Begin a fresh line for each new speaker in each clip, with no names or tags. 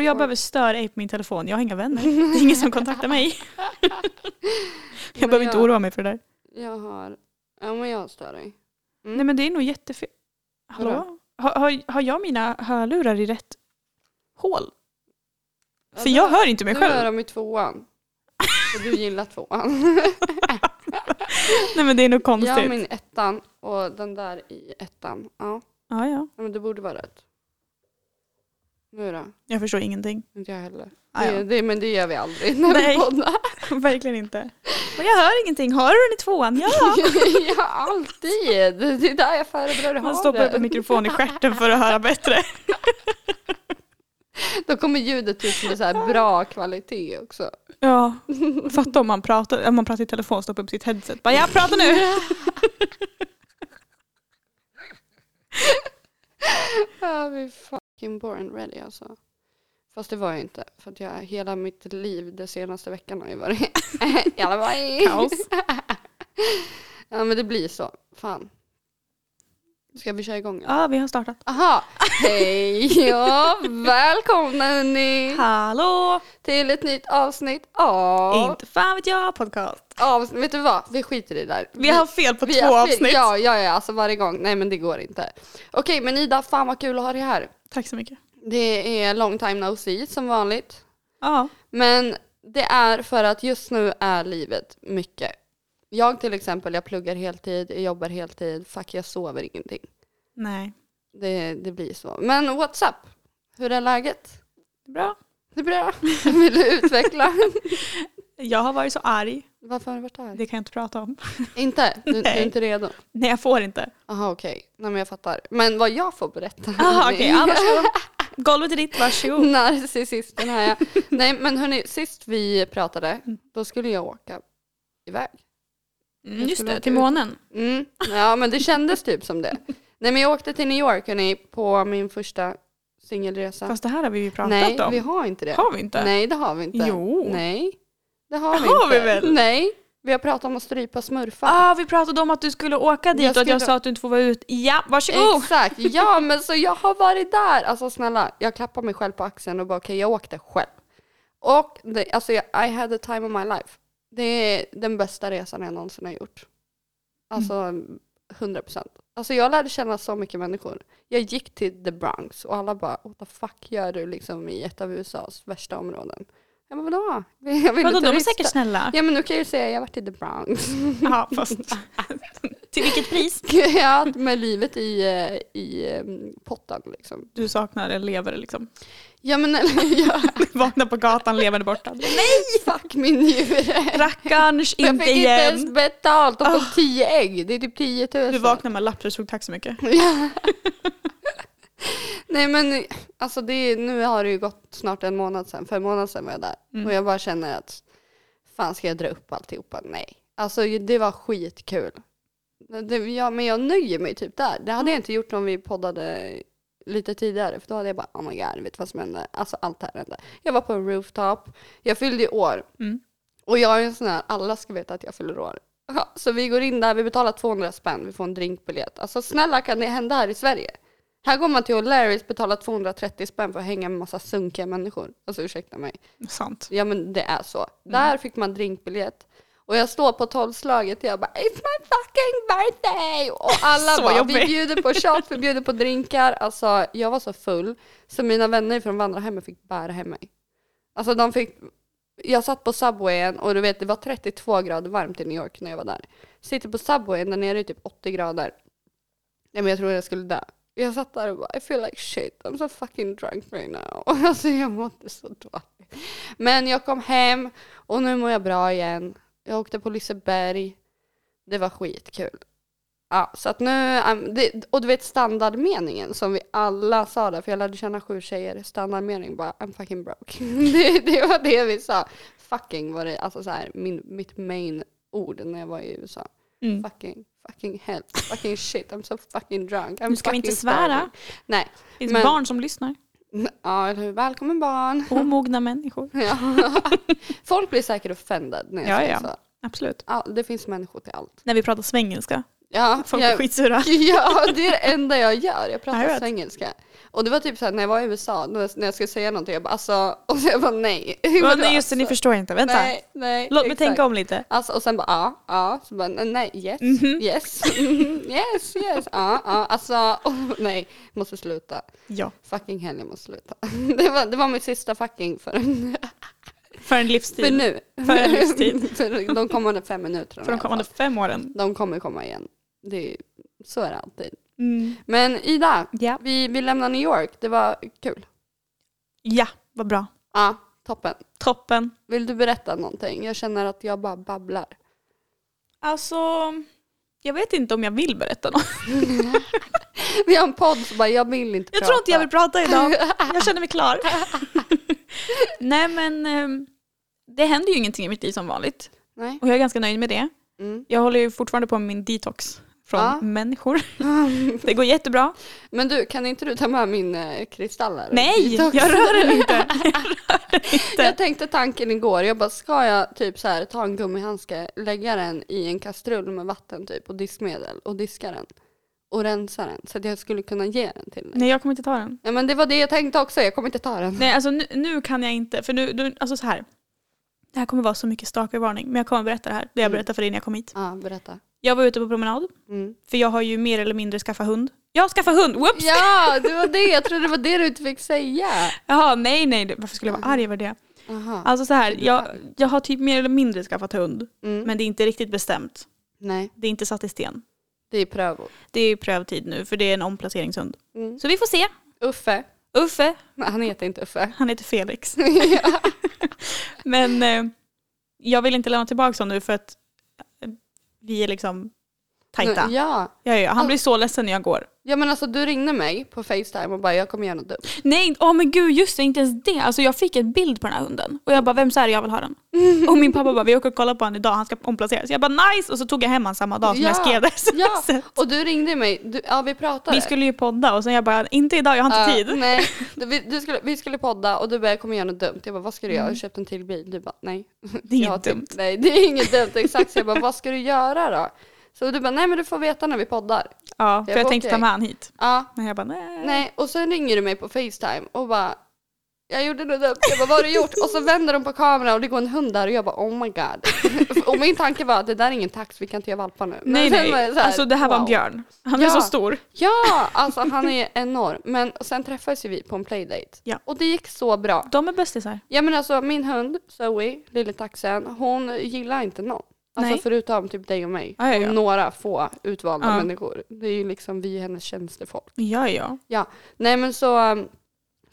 jag behöver störa ej på min telefon. Jag har inga vänner. Det är ingen som kontaktar mig. Jag behöver inte oroa mig för det där.
Jag har, ja men jag stör dig. Mm.
Nej men det är nog jättefel. Hallå?
Vadå?
Har, har, har jag mina hörlurar i rätt hål? För
Alltså,
jag hör inte mig
Nu är
själv.
de i tvåan. Och du gillar tvåan.
Nej men det är nog
jag har
konstigt.
min ettan och den där i ettan. Ja,
Ja, ja.
Ja, men det borde vara rätt. Nu då?
Jag förstår ingenting.
Inte jag heller.
Ah, ja.
Det, det, men det gör vi aldrig när
Nej.
vi poddar.
Verkligen inte. Men jag hör ingenting. Har du den i tvåan? Ja!
ja, alltid. Det är där jag föredrar att
Man
ha
stoppar upp en
den.
mikrofon i stjärten för att höra bättre.
Då kommer ljudet ut med så här bra kvalitet också.
Ja, fatta om man pratar, om man pratar i telefon stoppar upp sitt headset. Bara, jag pratar nu!
Ja, vi är fucking born ready alltså. Fast det var jag inte. För att jag, hela mitt liv de senaste veckan har ju varit jävla baj.
Kaos.
Ja men det blir så. Fan. Ska vi köra igång? eller?
Ja, vi har startat.
Aha. Hej och välkomna hörni.
Hallå!
Till ett nytt avsnitt av...
Inte fan vet jag podcast.
avsnitt. Vet du vad? Vi skiter i det där.
Vi har fel på
Mm. vi
två
har-
avsnitt.
Ja, ja, ja. Alltså varje gång. Nej men det går inte. Okej men Ida, fan vad kul att ha dig här.
Tack så mycket.
Det är long time no see som vanligt.
Ja,
Men det är för att just nu är livet mycket. Jag till exempel, jag pluggar heltid, jag jobbar heltid, fuck jag sover ingenting.
nej.
Det, det blir så. Men what's up? Hur är läget?
Bra.
Det är bra. Vill du utveckla?
Jag har varit så arg.
Varför har du varit här?
Det kan jag inte prata om.
Inte? Du, du är
Nej.
inte redo?
Nej, jag får inte.
Jaha okej, nej men jag fattar. Men vad jag får berätta.
Jaha, okej. Ja, varsågod. Golvet är ditt, varsågod.
Mm. Narcissisten här ja. Nej men hörni, sist vi pratade, då skulle jag åka iväg.
Mm, just
skulle
det,
åka
till
ut.
månen.
Mm. Ja men det kändes typ som det. Nej men jag åkte till New York hörni, på min första singelresa.
Fast det här har vi ju pratat
Nej
om.
vi har inte det.
Har vi inte?
Nej det har vi inte.
Jo.
Nej det har vi
Har
inte.
vi väl?
Nej, vi har pratat om att strypa smurfar.
Ah, vi pratade om att du skulle åka dit
Jag
och att jag
skulle-
sa att du inte får vara ut. Ja, varsågod!
Exakt, ja men så jag har varit där. Alltså snälla, jag klappar mig själv på axeln och bara okej jag åkte själv. Och det, alltså jag, I had the time of my life. Det är den bästa resan jag någonsin har gjort. Alltså 100%. Alltså jag lärde känna så mycket människor. Jag gick till the Bronx och alla bara what the fuck gör du liksom i ett av USAs värsta områden? Ja men vadå? Jag ville
Vadå, de är
turista.
säkert snälla.
Ja men nu kan jag ju säga jag varit i the Bronx.
Ja, fast till vilket pris?
ja, med livet i, eh, i eh, potten liksom.
Du saknar en levare liksom.
Ja men eller ja,
Vaknar på gatan, levande borta.
fuck min njure.
Rackarns,
Jag
inte Ah.
fick inte ens
igen.
betalt och på 10 ägg. Det är typ 10 000.
Du vaknar med lapptrosor, tack så mycket.
Ja. Nej men alltså det, är- nu har det ju gått snart en månad sedan. För en månad sedan var jag där.
Mm.
Och jag bara känner att fan ska jag dra upp alltihopa? Nej. Alltså det var skitkul. Det, ja, men jag nöjer mig typ där. Det hade jag inte gjort om vi poddade lite tidigare. För då hade jag bara oh my god, vet du vad som hände? Alltså allt det här hände. Jag var på en rooftop. Jag fyllde i år.
Mm.
Och jag är en sån här, alla ska veta att jag fyller år. Ja, så vi går in där, vi betalar 200 spänn, vi får en drinkbiljett. Alltså snälla kan det hända här i Sverige? Här går man till O'Larrys, betalar 230 spänn för att hänga med massa sunkiga människor. Alltså ursäkta mig.
Sant.
Ja men det är så. Där fick man drinkbiljett. Och jag står på tolvslaget och jag bara It's my fucking birthday! Och alla
Så
bara vi
jobbig.
bjuder på shot, vi bjuder på drinkar. Alltså jag var så full så mina vänner från vandrarhemmet fick bära hem mig. Alltså de fick jag satt på Subwayen och du vet det var 32 grader varmt i New York när jag var där. Sitter på Subwayen där nere är typ 80 grader. Nej men jag trodde jag skulle dö. Jag satt där och bara I feel like shit, I'm so fucking drunk right now. Alltså jag mådde så dåligt. Men jag kom hem och nu mår jag bra igen. Jag åkte på Liseberg. Det var skitkul. Ja, så att nu, um, det, och du vet standardmeningen som vi alla sa där, för jag lärde känna sju tjejer, standardmening bara I'm fucking broke. det, det var det vi sa. Fucking var det, alltså så här, min, mitt main ord när jag var i USA.
Mm.
Fucking, fucking hell, fucking shit, I'm so fucking drunk. I'm
Nu ska vi
fucking
inte svära.
starving. Nej.
Det finns
Men-
barn som lyssnar.
Ja, eller hur? Välkommen barn.
Omogna människor.
Ja. Folk blir säkert offended när jag
Ja,
säger
ja.
så.
Absolut.
Ja, det finns människor till allt.
När vi pratar svengelska.
Ja,
Folk är
jag,
skitsura.
ja, det är det enda jag gör. Jag
Ja, jag
pratar
vet.
svengelska. Och det var typ så här när jag var i USA, när jag- när jag skulle säga någonting, jag bara alltså, och så jag bara nej.
Men
Vadå,
nej, just det, ni
alltså?
förstår inte. Vänta.
Nej, nej.
Låt mig
exakt.
tänka om lite.
Alltså, och sen bara ja, ja, så bara nej, yes, yes, mhm, yes, yes, ja, ja, alltså, och, nej, måste sluta.
Ja.
Fucking hell, jag måste sluta. Det var, det var min sista fucking för,
För en
för
livstid.
nu.
För en livstid.
för de kommande fem minuterna.
För de kommande fem åren.
de kommer komma igen. Det är, så är det alltid.
Mm.
Men Ida,
Ja.
vi, vi lämnar New York. Det var kul.
ja, vad bra.
Ja, toppen.
Toppen.
Vill du berätta någonting? Jag känner att jag bara babblar.
Alltså, jag vet inte om jag vill berätta något.
Vi har en podd så bara, jag vill inte
Jag
prata.
tror inte jag vill prata idag. Jag känner mig klar. Nej men, ehm, det händer ju ingenting i mitt liv som vanligt.
Nej.
Och jag är ganska nöjd med det.
Mm.
Jag håller ju fortfarande på med min detox från
Ja.
människor. Det går jättebra.
Men du, kan inte du ta med min eh, kristallare?
Nej,
Detox.
jag rör den inte.
Jag tänkte tanken igår, jag bara ska jag typ så här ta en gummihandske, lägga den i en kastrull med vatten typ och diskmedel och diska den och rensa den så att jag skulle kunna ge den till dig.
Nej, jag kommer inte ta den.
Ja men det var det jag tänkte också, jag kommer inte ta den.
Nej, alltså nu, nu kan jag inte. För nu, du, alltså så här. Det här kommer vara så mycket stalkervarning, men jag kommer berätta det här. Det jag
Mm.
berättade för dig när jag kom hit.
Ja, berätta.
Jag var ute på promenad,
Mm.
för jag har ju mer eller mindre skaffat hund. Jag har skaffat hund! Whoops!
Ja, det var det, jag trodde det var det du inte fick säga.
Jaha, nej nej, det- varför skulle jag vara
Mm.
arg över det?
Aha.
Alltså så här, jag, jag har typ mer eller mindre skaffat hund,
Mm.
men det är inte riktigt bestämt.
Nej,
Det är inte satt i sten.
det är prövor.
Det är ju prövtid nu, för det är en omplaceringshund.
Mm.
Så vi får se.
Uffe,
Uffe,
Nej, han heter inte Uffe.
han heter Felix.
ja.
Men eh, jag vill inte lämna tillbaka honom nu för att eh, vi är liksom tajta.
ja.
Ja, ja, han blir så ledsen när jag går.
Ja men alltså du ringde mig på Facetime och bara jag kommer göra något dumt.
Nej, åh men gud just det, inte ens det. Alltså jag fick en bild på den här hunden och jag bara, vem är det? Jag vill ha den. Och min pappa bara, vi åker och kollar på honom idag, han ska omplaceras. Jag bara nice! Och så tog jag hem honom samma dag som jag
Ja,
skrev det
Ja,
smset.
och du ringde mig, du, ja vi pratade.
Vi skulle ju podda och sen jag bara, inte idag, jag har inte
Ja,
tid.
Mm, Nej, du, vi, du skulle, vi skulle podda och du bara jag kommer göra något dumt. Jag bara vad ska du göra? Jag har köpt en till bil. Du bara nej.
Det är
Jag har
inget
typ-
dumt.
Nej det är inget dumt exakt. Så jag bara vad ska du göra då? Så du bara nej men du får veta när vi poddar.
Ja, för
Jag
jag
bara,
tänkte ta
okej.
med honom hit.
Ja,
Men jag bara, nej.
nej och sen ringer du mig på Facetime och bara jag gjorde något dumt. Jag bara vad har du gjort? Och så vänder de på kameran och det går en hund där och jag bara oh my god. Och min tanke var att det där är ingen tax, vi kan inte göra valpar nu. Men
Nej,
sen var
nej.
jag så här,
alltså det här var en
wow.
björn. Han är
Ja.
så stor.
Ja, alltså han är enorm. Men och sen träffades ju vi på en playdate.
Ja.
Och det gick så bra.
De är bästisar.
Ja men alltså min hund Zoe, lille taxen, hon gillar inte någon. Alltså
Nej.
förutom typ dig och mig.
Ja, ja, ja.
Och några få utvalda
Ja.
människor. Det är ju liksom vi hennes tjänstefolk.
Ja, ja.
Nej men så, um,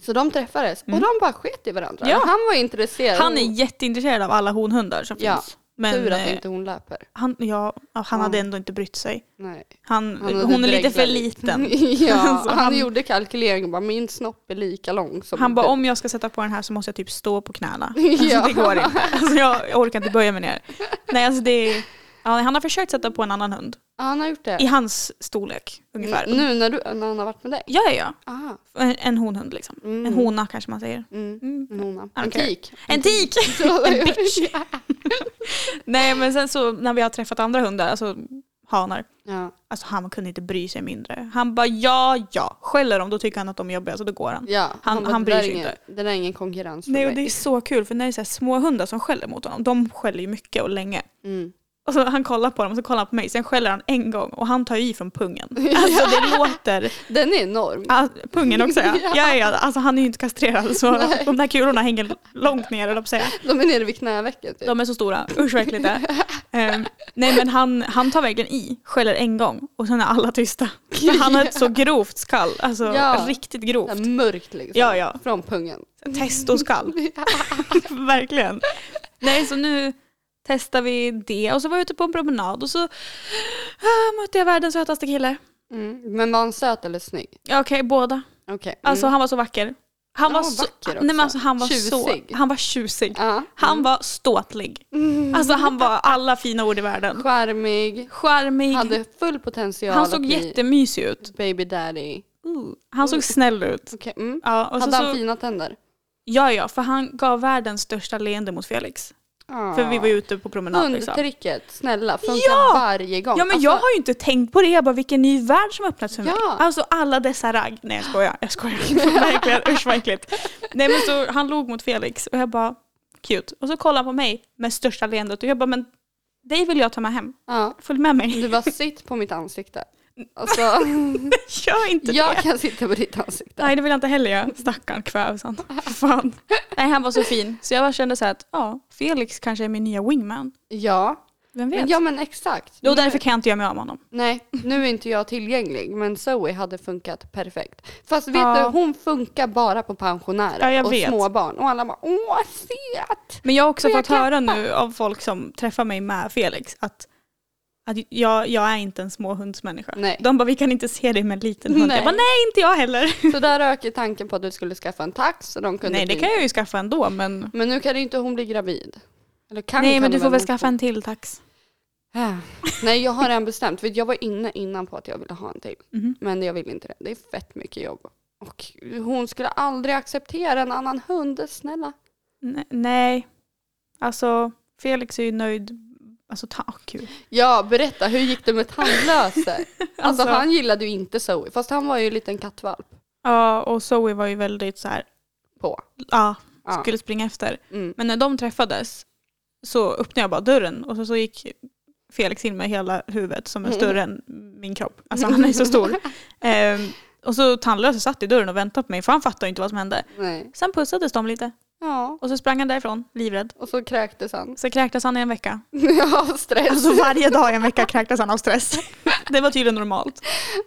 så de träffades
Mm.
och de bara sket i varandra.
Ja.
Han var intresserad.
Han är jätteintresserad av alla honhundar som
Ja,
finns. Men
Tur att
eh,
inte hon löper.
han, ja, han hade
Ja.
ändå inte brytt sig.
Nej.
Han,
Han hade
hon är lite
dreglat
för
lite.
liten.
ja,
Alltså,
han,
han-
gjorde kalkyleringen bara min snopp är lika lång som
Han bara
du."
om jag ska sätta på den här så måste jag typ stå på knäna.
Ja.
Alltså, det går inte. Alltså, jag, jag orkar inte böja mig ner. Nej, alltså det är, ja, han har försökt sätta på en annan hund.
Ja, han har gjort det.
I hans storlek ungefär.
N- Mm, Nu när, du, när han har varit med dig?
Ja, ja, ja.
Aha.
En, en honhund liksom.
Mm.
En hona kanske man säger.
Mm.
Mm.
En hona.
don't
En
care.
tik.
En tik! en bitch! Nej men sen så när vi har träffat andra hundar, alltså hanar,
Ja.
alltså han kunde inte bry sig mindre. Han bara ja, ja. Skäller de då tycker han att de är jobbiga så då går han.
Ja,
Han-
bara,
han
"Det
bryr
där är
sig
ingen,
inte."
Det där är ingen konkurrens för
Nej och
mig.
det är så kul för när det är så här små hundar som skäller mot honom, de skäller ju mycket och länge.
Mm.
Och så han kollar på dem och så kollar han på mig, sen skäller han en gång och han tar ju i från pungen. Alltså det låter...
Den är enorm.
Ah, pungen också ja.
Ja.
ja, ja. Alltså han är ju inte kastrerad så
Nej.
de där kulorna hänger långt ner, eller säga.
De är nere vid knävecken typ.
De är så stora, usch vad äckligt det är. Ehm, nej men han, han tar verkligen i, skäller en gång och sen är alla tysta. För han har ett så grovt skall, alltså
Ja.
riktigt
Så
grovt.
här mörkt liksom.
Ja, ja.
Från pungen.
Testoskall. Verkligen. Nej, så nu testar vi det och så var jag ute på en promenad och så ah, mötte jag världens sötaste kille.
Mm. Men var han söt eller snygg?
Ja, Okej, båda.
Okej. Mm.
Alltså han var så vacker. Han
Ja,
var så,
vacker också.
nej, men alltså, han var
Tjusig.
så, han var tjusig.
Mm. Ja. Mm,
Han var ståtlig. Alltså han var alla fina ord i världen.
Charmig.
Charmig.
Hade full potential
Han såg
att bli
jättemysig ut. Uh.
baby daddy.
Han såg snäll ut.
Okej. Mm.
Ja, och Alltså så,
Uh. Hade han
så,
fina tänder?
ja, ja, för han gav världens största leende mot Felix.
Ja.
För vi var ju ute på promenad liksom.
Hundtricket, Ah. snälla, funkar
Ja!
varje gång.
Ja men
Alltså,
jag har ju inte tänkt på det, jag bara vilken ny värld som öppnats för mig.
Ja.
Alltså alla dessa ragg. Nej jag skojar, jag skojar. verkligen, usch vad äckligt. Nej men så han låg mot Felix och jag bara cute. Och så kollade han på mig med största leendet och jag bara men dig vill jag ta med hem.
ja.
Följ med mig.
Du bara sitt på mitt ansikte. Alltså,
Gör inte
jag
det.
kan sitta på ditt ansikte.
Nej det vill jag inte heller göra. Stackarn kvävs han. Fan. Nej han var så fin. Så jag bara kände så här att ja, Felix kanske är min nya wingman.
Ja,
Vem
men,
vet?
ja men exakt. Mm.
Och därför kan jag inte göra mig av med honom.
Nej, nu är inte jag tillgänglig men Zoe hade funkat perfekt. Fast vet
Ja.
du, hon funkar bara på pensionärer
Ja, jag
och
vet.
småbarn. Och alla bara åh söt!
Men jag har också
Och jag
fått höra nu av folk som träffar mig med Felix att, att jag, jag är inte en småhundsmänniska.
Nej.
De bara, vi kan inte se dig med en liten hund.
Nej.
Jag bara, nej inte jag heller.
Så där ökar tanken på att du skulle skaffa en tax så de kunde
Nej det
bli-
kan jag ju skaffa ändå men...
Men nu kan ju inte hon bli gravid. Eller kan,
nej
kan
men du
hon
får väl
hon
skaffa en till tax.
Ah. Nej jag har redan bestämt, för jag var inne innan på att jag ville ha en till.
Mhm.
Men jag vill inte det, det är fett mycket jobb. Och hon skulle aldrig acceptera en annan hund, snälla.
N- nej. Alltså Felix är ju nöjd. Alltså ta, oh, gud.
Ja, berätta, hur gick det med tandlöse? Alltså,
Alltså-
han gillade ju inte Zoe, fast han var ju en liten kattvalp
Ja och Zoe var ju väldigt så här,
på.
ja,
Ja.
skulle springa efter.
Mm.
Men när de träffades så öppnade jag bara dörren och så, så gick Felix in med hela huvudet som är större än min kropp. Alltså han är så stor. Ehm, och så tandlösa satt i dörren och väntade på mig för han fattade ju inte vad som hände.
Nej.
Sen pussades de lite
Ja,
och så sprang han därifrån, livrädd.
och så kräktes han.
Så kräktes han i en vecka.
Ja, stress.
Alltså varje dag i en vecka kräktes han av stress. Det var tydligen normalt.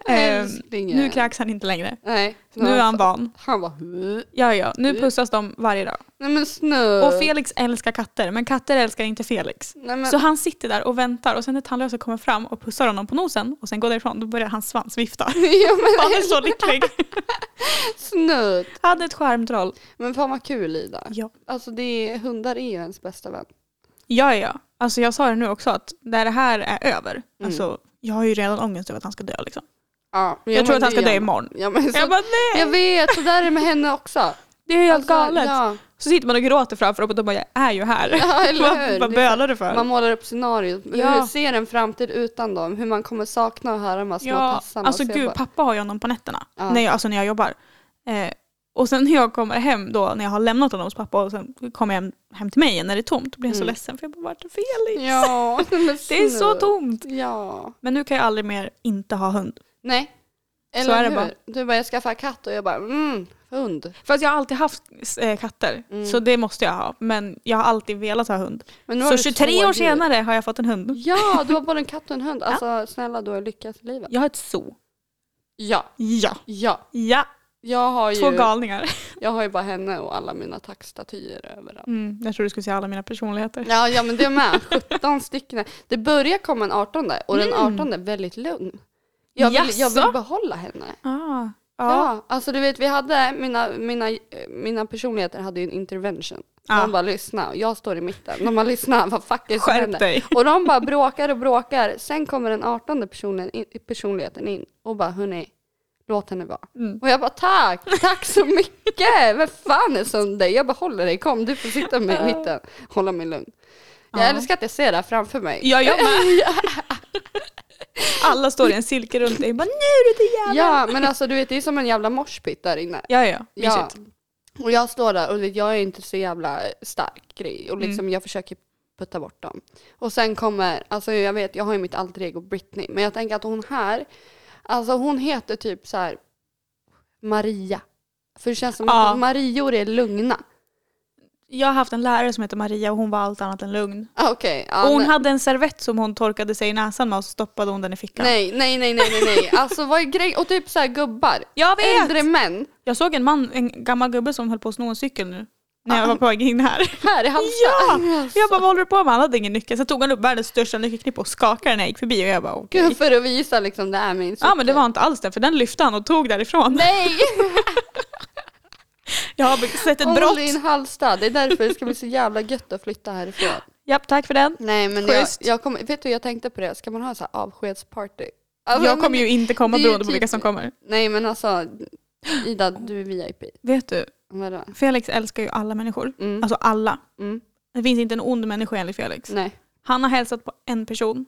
Ehm,
Älsklingen.
nu kräks han inte längre.
Nej.
Nu är han van.
Han bara...
Ja, ja. Nu pussas de varje dag.
Nej men snö.
Och Felix älskar katter, men katter älskar inte Felix.
Nej, men,
Så han sitter där och väntar och sen när tandlösa kommer fram och pussar honom på nosen och sen går därifrån, då börjar hans svans vifta.
ja, men
Han är så lycklig.
snöt.
Han är ett skärmtroll.
Men fan vad kul Ida.
Ja.
Alltså det är, hundar är ju ens bästa vän.
ja, ja. Alltså jag sa det nu också att när det här är över,
Mm.
alltså jag har ju redan ångest över att han ska dö liksom.
Ja, men
Jag, tror
men
att han
det
ska
gör
dö
man.
imorgon.
Ja, men så,
Jag bara nej,
jag vet, så där är det med henne också.
det är helt
Alltså,
galet.
Ja,
Så sitter man och gråter framför dem och de bara jag är ju här.
ja eller
vad
hur.
vad
Det är
bölar du för?
Man målar upp scenariot.
Ja.
Hur ser en framtid utan dem? Hur man kommer sakna och höra de här små
Ja,
tassarna.
alltså
Så jag
gud,
bara,
pappa har ju honom på nätterna.
Ja.
När jag, alltså när jag jobbar. Eh, och sen när jag kommer hem då, när jag har lämnat honom hos pappa och sen kommer jag hem, hem till mig igen när det är tomt, då blir jag så
Mm.
ledsen för jag bara, vart är Felix?
Ja, men
Det är så
snälla.
tomt!
Ja.
Men nu kan jag aldrig mer inte ha hund.
Nej. Eller
är det
hur?
bara.
Du bara, jag skaffar katt och jag bara, mm, hund.
Fast jag har alltid haft eh, katter,
Mm.
så det måste jag ha. Men jag har alltid velat ha hund.
Men nu har
Så
du
23
två
år
djur.
senare har jag fått en hund.
Ja, du har både en katt och en hund. Alltså snälla, du har lyckats i livet.
Jag har ett zoo.
Ja,
Ja.
ja.
Ja,
Jag har ju,
två galningar.
jag har ju bara henne och alla mina taxstatyer överallt.
Mm, jag tror du skulle säga alla mina personligheter.
Ja, ja men det är med. 17 stycken. Det börjar komma en 18 och den 18 är väldigt lugn. Jag vill, jag
Mm. Jaså?
vill behålla henne.
Ah, ja.
Ja, alltså du vet vi hade, mina, mina, eh, mina personligheter hade ju en intervention.
Ja.
De bara lyssna och jag står i mitten. De bara lyssna, vad fuck är det som
Skärp
händer?"
dig.
Och de bara bråkar och bråkar. Sen kommer den 18 personen in, personligheten in och bara hörni, låt henne vara.
Mm.
Och jag bara tack, tack så mycket. Vem fan är som dig? Jag behåller dig, kom du får sitta med i mitten. Hålla mig lugn. Jag
Ja.
älskar att jag ser det här framför mig.
Ja, jag med. Alla står i en cirkel runt dig och bara nu är du jävla...
Ja, men alltså du vet det är som en jävla moshpit där inne.
Ja, ja.
Ja.
Mysigt.
Och jag står där och vet, jag är inte så jävla stark grej
Mm.
och liksom jag försöker putta bort dem. Och sen kommer, alltså jag vet, jag har ju mitt alter ego Britney, men jag tänker att hon här, alltså hon heter typ så här Maria. För det känns som
Ja.
att Marior är lugna.
Jag har haft en lärare som heter Maria och hon var allt annat än lugn.
Ah, Okej. ja,
Och hon
nej.
hade en servett som hon torkade sig i näsan med och så stoppade hon den i fickan.
Nej, nej, nej, nej, nej, nej. Alltså vad är grejen? Och typ så här gubbar.
Jag vet!
Äldre män.
Jag såg en man, en gammal gubbe som höll på att sno en cykel nu. När jag var på väg in här.
Här i Halmstad.
Ja!
Alltså,
Jag bara, vad håller du på med? Han hade ingen nyckel. Sen tog han upp världens största nyckelknippe och skakade den när jag gick förbi och jag bara okej.
Gud, för att visa liksom, det är min
Ja men det var inte alls den för den lyfte han och tog därifrån.
Nej!
Jag har sett ett
Håll
brott.
din Halmstad, det är därför det ska bli så jävla gött att flytta härifrån.
Japp, tack för den.
Nej men jag,
Schysst.
jag kommer, vet du jag tänkte på det, ska man ha så här avskedsparty? Alltså,
Jag kommer
men-
ju inte komma
det är ju
beroende på vilka
typ-
som kommer.
Nej men alltså Ida, du är VIP.
Vet du,
Vadå?
Felix älskar ju alla människor.
Mm.
Alltså alla.
Mm.
Det finns inte en ond människa enligt Felix.
Nej.
Han har hälsat på en person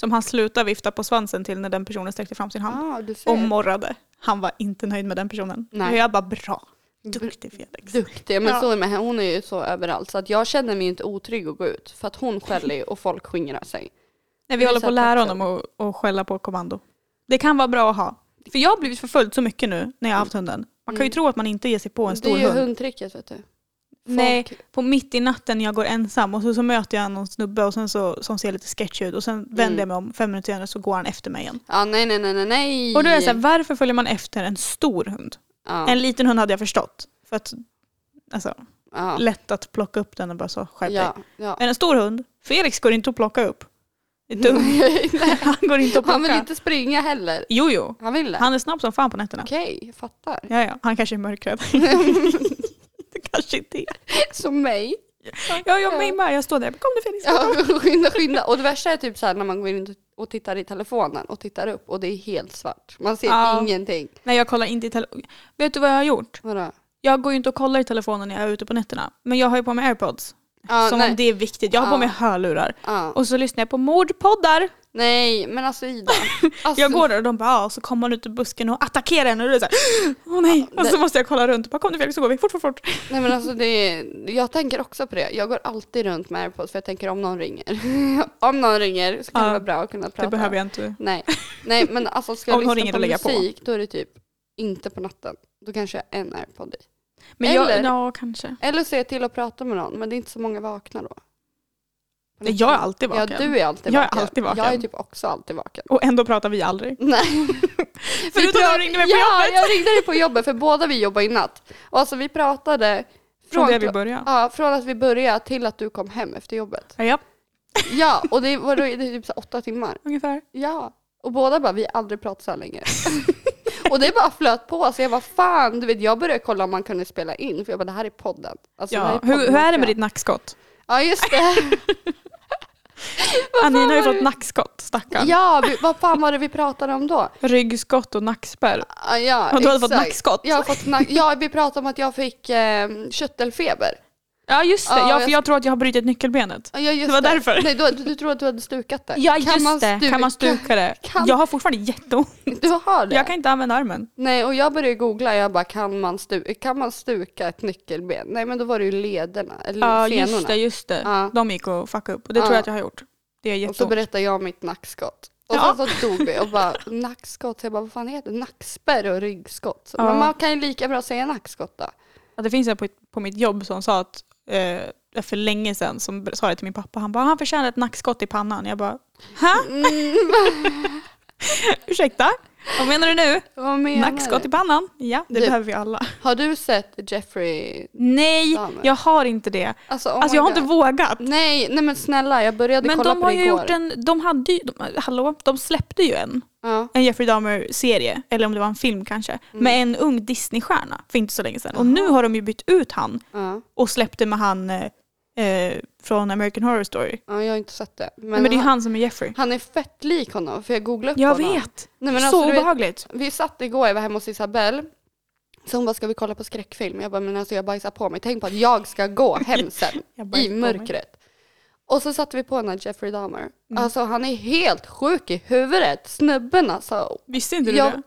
som han slutade vifta på svansen till när den personen sträckte fram sin hand
Ah, du ser.
och morrade. Han var inte nöjd med den personen.
Nej.
Och jag bara bra, duktig Felix.
Duktig, men
Ja.
så är med henne. hon är ju så överallt. Så att jag känner mig ju inte otrygg att gå ut. För att hon skäller ju och folk skingrar sig.
Nej, vi håller på att lära
Visat
honom att, att skälla på kommando. Det kan vara bra att ha. För jag har blivit förföljd så mycket nu när jag har haft hunden. Man kan ju
Mm.
tro att man inte ger sig på en
det är
stor
ju
hund.
hundtricket vet du. Folk,
Nej. På mitt i natten när jag går ensam och så, så möter jag någon snubbe och sen så, som ser lite sketch ut och sen
Mm.
vänder jag mig om fem minuter senare så går han efter mig igen.
Ja, nej, nej, nej, nej, nej.
Och då är jag så här, varför följer man efter en stor hund?
ja.
En liten hund hade jag förstått. För att, alltså,
Ja.
lätt att plocka upp den och bara så, skärp dig.
Ja, ja.
Men en stor hund, Felix går inte att plocka upp. Det är dumt. Han går inte att plocka.
Han vill inte springa heller.
Jo, jo.
Han vill det?
Han är snabb som fan på nätterna.
Okej, jag fattar.
Ja, ja. Han kanske är mörkrädd. det kanske inte är.
Som mig.
Ja, jag mig med. Jag står där. Kom nu Felix.
Ja, skynda, skynda. Och det värsta är typ så här när man går in och tittar i telefonen och tittar upp och det är helt svart. Man ser
Ja.
ingenting.
Nej, jag kollar inte i telefonen. Vet du vad jag har gjort?
Vadå?
Jag går ju inte och kollar i telefonen när jag är ute på nätterna. Men jag har ju på mig airpods.
Ja,
som
nej.
om det är viktigt. Jag har på
Ja.
mig hörlurar.
Ja.
Och så lyssnar jag på mordpoddar.
Nej, men alltså Ida. Alltså,
Jag går där och de bara, ja, och så kommer man ut ur busken och attackerar en och det är så här, åh nej. Och så
det-
måste jag kolla runt. Bara, kom nu Felix så går vi, fort, fort, fort.
Nej men alltså det är, jag tänker också på det. Jag går alltid runt med airpods för jag tänker om någon ringer. om någon ringer så kan
Ja.
det vara bra att kunna prata.
Det behöver jag inte.
Nej, nej men alltså ska jag
Om någon
lyssna
ringer
på
och lägga på.
musik då är det typ inte på natten. Då kanske jag har en airpod i.
Men jag,
Eller-
ja, kanske.
Eller se till att prata med någon men det är inte så många vakna då.
Nej, jag är alltid
Ja
vaken.
du är alltid
Jag är
vaken.
alltid vaken.
Jag är typ också alltid vaken.
Och ändå pratar vi aldrig.
Nej.
Förutom när du ringde mig på
ja,
jobbet.
jag ringde dig på jobbet för båda vi jobbar i natt. Och alltså vi pratade
Från det
klo-
vi började.
Ja, från att vi började till att du kom hem efter jobbet.
Ja, ja,
Ja, och det var då, det är typ så här åtta timmar.
ungefär.
Ja, och båda bara, vi har aldrig pratat så här länge. och det bara flöt på, så jag bara fan, du vet jag började kolla om man kunde spela in, för jag bara det här är podden. Alltså, det här
Ja.
podden.
Hur, hur är det med ditt nackskott?
Ja just det,
Anina har ju
var
fått
det?
nackskott, stackarn.
ja vi, vad fan var det vi pratade om då?
Ryggskott och nackspärr.
Ja, ja
Och du hade fått
exakt.
nackskott.
Jag har fått nack- ja, vi pratade om att jag fick eh, köttelfeber.
Ja, just det.
Ja,
Ja, för
jag-
jag tror att jag har brutit nyckelbenet.
Ja, just
Det var därför.
Nej, du, du tror att du hade stukat det.
Ja, just det.
stuka-
Kan man stuka det?
Kan-
Jag har fortfarande jätteont.
Du har det?
Jag kan inte använda armen.
Nej, och jag började googla, jag bara kan man, stu- kan man stuka ett nyckelben? Nej, men då var det ju lederna, eller
Ja,
fenorna.
just det. Just det.
Ja.
De gick och fuckade upp. Och det tror
Ja.
jag att jag har gjort. Det är
Och så
jätteont.
berättade jag om mitt nackskott. Och
Ja.
sen så dog vi och bara nackskott, så jag bara vad fan heter det? Nackspärr och ryggskott. Så,
Ja.
Men man kan ju lika bra säga nackskott då.
Ja, det finns en på, på mitt jobb som sa att eh, för länge sedan som ber- sa det till min pappa. Han bara, "Ah, han förtjänar ett nackskott i pannan. Jag bara, hä? Ursäkta? Mm. Vad menar du nu?
Vad menar
Nackskott i
du?
pannan? Ja, det
Du-
behöver vi alla.
Har du sett Jeffrey?
Nej,
Dahmer.
jag har inte det.
Alltså, oh
Alltså
my
jag har inte
God.
vågat.
Nej, nej men snälla, jag började
Men
kolla
de
på
har
det
ju
igår.
gjort en, de hade ju, de, hallå, de släppte ju en,
Ja.
en Jeffrey Dahmer-serie, eller om det var en film kanske,
Mm.
med en ung Disney-stjärna för inte så länge sedan. Och nu har de ju bytt ut han
Ja.
och släppte med han eh, eh, från American Horror Story.
ja, jag har inte sett det. Men,
Men, det är ju
han,
han som är Jeffrey.
han är fett lik honom, för jag googlade upp
Jag
honom.
vet!
Nej, men
så
alltså, du vet,
obehagligt.
Vi satt igår, jag var hemma hos Isabelle. Så hon bara, ska vi kolla på skräckfilm? Jag bara, men alltså jag bajsar på mig. Tänk på att jag ska gå hem sen
Jag bajsar
i
på mig.
mörkret. Och så satte vi på den här Jeffrey Dahmer.
Mm.
Alltså han är helt sjuk i huvudet. Snubben alltså.
Visste inte du det?
Jag,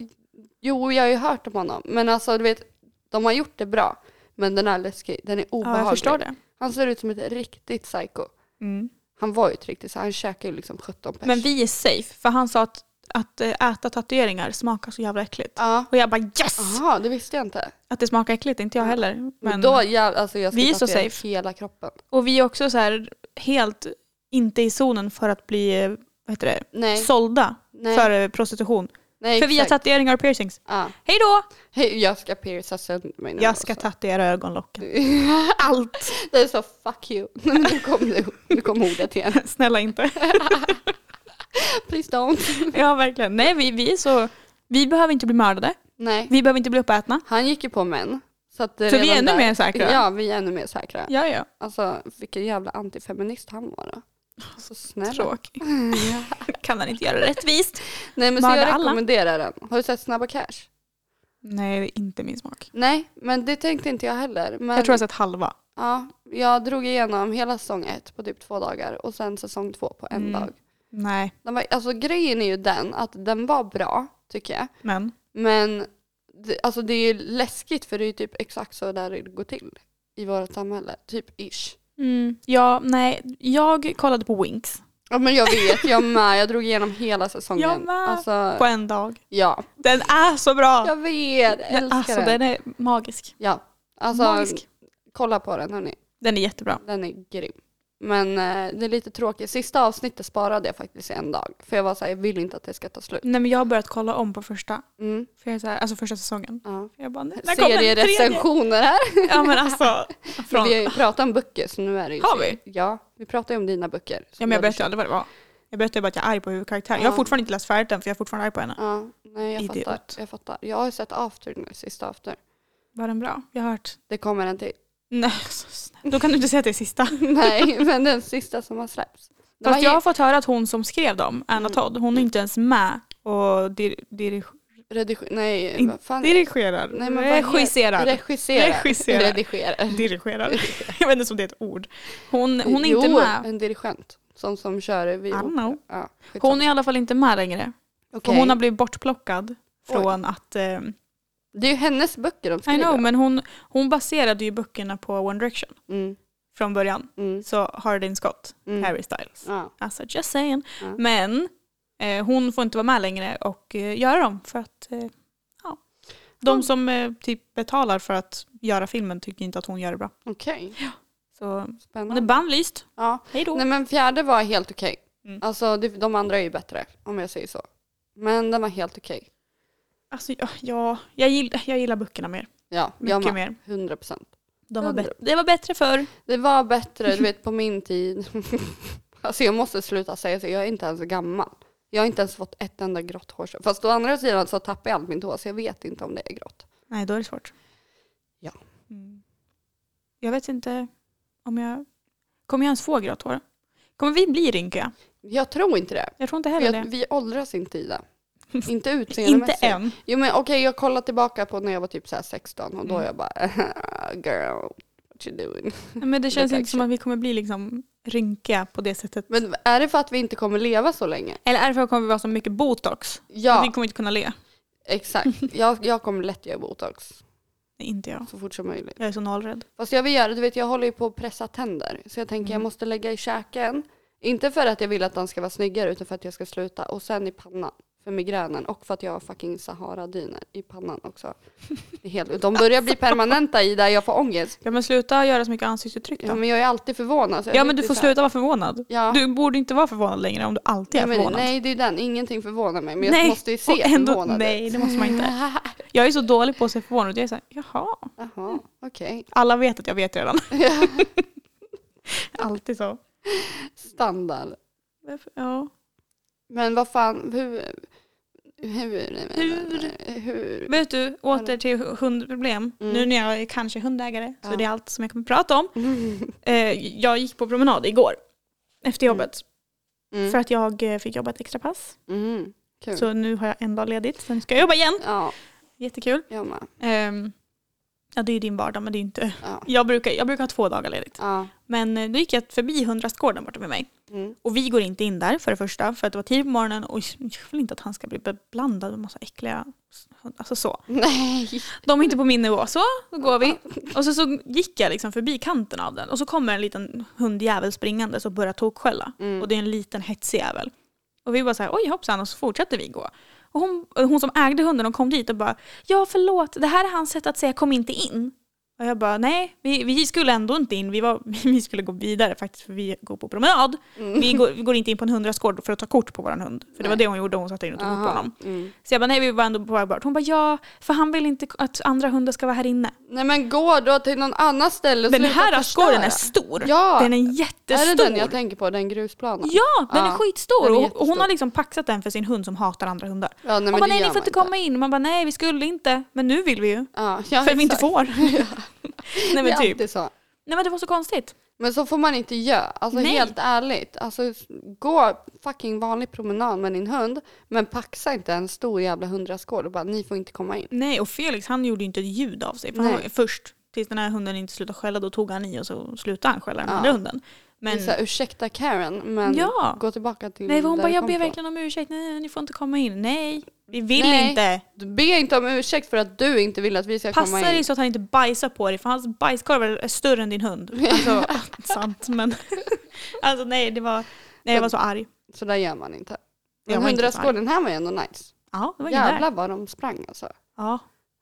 jo, jag har ju hört om honom. Men alltså du vet, de har gjort det bra. Men den är läskig. Den är
Ja,
obehaglig.
jag förstår det.
Han ser ut som ett riktigt psycho.
Mm.
Han var ju ett riktigt, så han käkar ju liksom 17 pers.
Men vi är safe, för han sa att, att eh, äta tatueringar smakar så jävla äckligt.
Ja.
Och jag bara yes!
Jaha, det visste jag inte.
Att det smakar äckligt, inte jag heller. Men,
Men då, jag, alltså jag ska
Vi är så
tatuera
safe.
hela kroppen.
och vi är också så här helt inte i zonen för att bli eh, vad heter det,
Nej.
sålda
Nej.
för eh, prostitution.
Nej,
för vi har
exakt.
tatueringar och piercings.
Ja.
Hej då!
Hej, jag ska pierca sönder mig nu.
Jag ska
alltså.
tatuera ögonlocken.
Allt. Det är så fuck you. nu, kom, nu, nu kom ordet igen.
Snälla inte.
Please don't.
ja verkligen. Nej vi, vi är så, vi behöver inte bli mördade.
Nej.
Vi behöver inte bli uppätna.
Han gick ju på män. Så, att så
vi är ännu mer säkra?
Ja, vi är ännu mer säkra.
Ja ja.
Alltså vilken jävla antifeminist han var då. Alltså, Så snäll.
Tråkig. kan han inte göra rättvist?
Nej men så
Mörda
jag
alla.
rekommenderar den. Har du sett Snabba Cash?
Nej, det är inte min smak.
Nej, men det tänkte inte jag heller. Men,
Jag tror jag har sett halva.
Ja, jag drog igenom hela säsong ett på typ två dagar och sen säsong två på en
Mm.
dag.
Nej,
Den var, alltså grejen är ju den att den var bra tycker jag.
men
Men det, alltså det är ju läskigt för det är ju typ exakt så där det går till i vårt samhälle. Typ ish.
ja, nej, jag kollade på Winx
Ja men jag vet, jag med. Jag drog igenom hela säsongen.
Jag med.
Alltså,
på en dag.
ja.
Den är så bra!
Jag vet, älskar
alltså
den.
den är magisk.
Ja, alltså
magisk.
kolla på den hörni.
Den är jättebra.
Den är grym. Men eh, det är lite tråkigt. Sista avsnittet sparade jag faktiskt i en dag. För jag var såhär, jag vill inte att det ska ta slut.
Nej men jag har börjat kolla om på första,
Mm,
för jag är så här, alltså första säsongen.
ja.
Jag bara, när kommer den tredje?
Serierecensioner här.
Ja men alltså. Från,
Vi har ju pratat om böcker så nu är det ju
Har
serie- Ja, vi pratar ju om dina böcker.
ja, men jag berättade aldrig vad det var. Jag berättade bara att jag är arg på huvudkaraktären. Jag har
Ja.
fortfarande inte läst färdigt den för jag är fortfarande arg på henne.
Ja, nej jag
Idiot.
fattar. Jag fattar. Jag har ju sett After nu, sista After.
Var den bra? Jag har hört.
Det kommer en till.
Nej, så snäll. Då kan du inte säga att det är sista.
nej, men den sista som har släppts. Den
Fast
var
jag har
helt
fått höra att hon som skrev dem, Anna
Mm.
Todd, hon är inte ens med och dir- dir-
Rediger... Nej,
In-
vad fan.
dirigerar.
Nej, men vad heter-
regisserar.
Regissera.
Regissera.
Redigerar.
dirigerar. jag vet inte om det är ett ord. Hon, hon är
jo, Eh,
inte med.
en dirigent. Sån som kör
I
vid
don't know.
Ja, skitsamma.
Hon är i alla fall inte med längre. För
Okej.
hon har blivit bortplockad från att eh,
Det är ju hennes böcker
I
de skriver.
know, men hon, hon baserade ju böckerna på One Direction
Mm,
från början.
mm,
Så Hardin Scott,
mm.
Harry Styles.
Ja.
Alltså just saying.
Ja.
Men eh, hon får inte vara med längre och eh, göra dem för att eh, ja. de
Ja.
som eh, typ betalar för att göra filmen tycker inte att hon gör det bra.
Okej,
Så hon är
spännande.
bannlyst.
Ja.
Hej då.
Nej men fjärde var helt okej.
Mm.
Alltså det, de andra är ju bättre om jag säger så. Men den var helt okej.
Alltså, ja, ja, jag, gillar, jag gillar böckerna mer.
Ja, jag
Mycket
med.
mer.
100 procent.
De var
Hundra.
bättre. Det var bättre förr.
Det var bättre, du vet på min tid. alltså jag måste sluta säga så, jag är inte ens gammal. Jag har inte ens fått ett enda grått hår. Fast å andra sidan så tappar jag allt mitt hår så jag vet inte om det är grått.
Nej, då är det svårt.
Ja.
Mm. Jag vet inte om jag... Kommer jag ens få grått hår? Kommer vi bli rynkiga?
Jag tror inte det.
Jag tror inte
För
heller
jag,
det.
vi åldras inte i det. Inte
Inte
utseendemässigt.
än.
Jo men okej, jag kollar tillbaka på när jag var typ så här 16 och då
Mm.
jag bara girl, what you doing?
Nej, Men det känns
Lite
inte som att vi kommer bli liksom rynkiga på det sättet.
Men är det för att vi inte kommer leva så länge?
Eller är det för att vi kommer vara så mycket botox?
Ja,
Vi kommer inte kunna le.
exakt. Jag, jag kommer lätt göra botox
Nej, inte jag.
så fort som möjligt.
Jag är så nollrädd.
Fast jag vill göra, du vet jag håller ju på att pressa tänder. Så jag tänker jag
Mm.
måste lägga i käken. Inte för att jag vill att den ska vara snyggare utan för att jag ska sluta. Och sen i pannan för migränen och för att jag har fucking Sahara-dyner i pannan också. Det är helt, de börjar bli permanenta i där jag får ångest.
Ja men sluta göra så mycket ansiktsuttryck då.
Ja,
Ja men,
men jag är alltid förvånad. så jag sitter
du får
så här-
sluta vara förvånad.
Ja.
Du borde inte vara förvånad längre om du alltid är
nej, men,
förvånad.
nej, det är den. Ingenting förvånar mig. Men jag
Nej,
måste ju
och
se
ändå-
förvånad ut.
Nej det måste man inte. Jag är så dålig på att se förvånad ut. Jag är såhär, jaha.
Jaha, okej.
Alla vet att jag vet redan. Alltid så.
Standard.
Varför- Ja.
Men vad fan, hur... Hur?
Hur?
hur?
Vet du, åter till hundproblem.
Mm.
Nu när jag är kanske hundägare så
Ja.
det är allt som jag kommer prata om. Eh, jag gick på promenad igår efter
Mm.
jobbet
Mm.
för att jag eh, fick jobba ett extra pass.
Mm. Kul.
Så nu har jag en dag ledigt, sen ska jag jobba igen.
Ja,
Jättekul.
jag med.
Ehm, ja, det är ju din vardag men det är ju inte...
Ja.
Jag brukar, jag brukar ha två dagar ledigt.
ja.
Men eh, då gick jag förbi hundrastgården borta med mig.
Mm.
Och vi går inte in där för det första för att det var tidigt på morgonen och jag vill inte att han ska bli beblandad med massa äckliga hundar. Alltså så.
Nej.
De är inte på min nivå. Så, då går vi. Och så, så gick jag liksom förbi kanten av den och så kommer en liten hundjävel springandes och börjar tokskälla.
Mm.
Och det är en liten hetsig jävel. Och vi bara så här, oj hoppsan, och så fortsätter vi gå. Och hon, hon som ägde hunden hon kom dit och bara, ja förlåt, det här är hans sätt att säga kom inte in. Och jag bara, nej, vi, vi skulle ändå inte in, vi, var, vi skulle gå vidare faktiskt för vi går på promenad. Vi, går, vi går inte in på en hundrastgård för att ta kort på vår hund. För det var
Mm. Nej.
det hon gjorde, hon satte in och tog kort på
Aha.
honom.
Mm.
Så jag bara, nej vi var ändå på väg bort. Hon bara, ja, för han vill inte att andra hundar ska vara här inne.
Nej men gå då till någon annan ställe och
Den
sluta
här
förstöra.
askorren är stor.
Ja.
Den är
Är
jättestor.
det den jag tänker på? Den grusplanen?
Ja, den är
Ja,
skitstor.
den är
och, och hon
jättestor.
har liksom paxat den för sin hund som hatar andra hundar.
Ja, nej, men
Hon bara,
det
nej ni
gör
får
man
inte komma in. Man bara, nej vi skulle inte. Men nu vill vi ju.
Ja, ja,
för vi inte
exakt.
får. nej
Det
men
är
typ.
alltid så.
Nej men det var så konstigt.
Men så får man inte göra. Alltså
Nej.
helt ärligt. Alltså gå fucking vanlig promenad med din hund. Men paxa inte en stor jävla hundraskål och bara ni får inte komma in.
Nej och Felix han gjorde ju inte ett ljud av sig. För han
Nej.
var först tills den här hunden inte slutade skälla, då tog han i och så slutade han skälla den
Ja.
andra hunden. Men,
Men... Så här, ursäkta Karen, men
ja.
gå tillbaka till
Nej, för hon
där
bara,
du
jag
kom
ber
ifrån."
verkligen om ursäkt, nej, ni får inte komma in, nej, vi vill
Nej.
inte.
Du ber inte om ursäkt för att du inte vill att vi ska komma in.
Passa dig så att han inte bajsar på dig för hans bajskorvar är större än din hund. Alltså, sant men. Alltså nej, det var, nej, jag var så arg.
Så där gör man inte.
Jag
Men
var inte så arg.
hundrastgården den här var ju ändå nice.
Ja, det var ingen där.
Jävlar vad de sprang alltså.
Ja.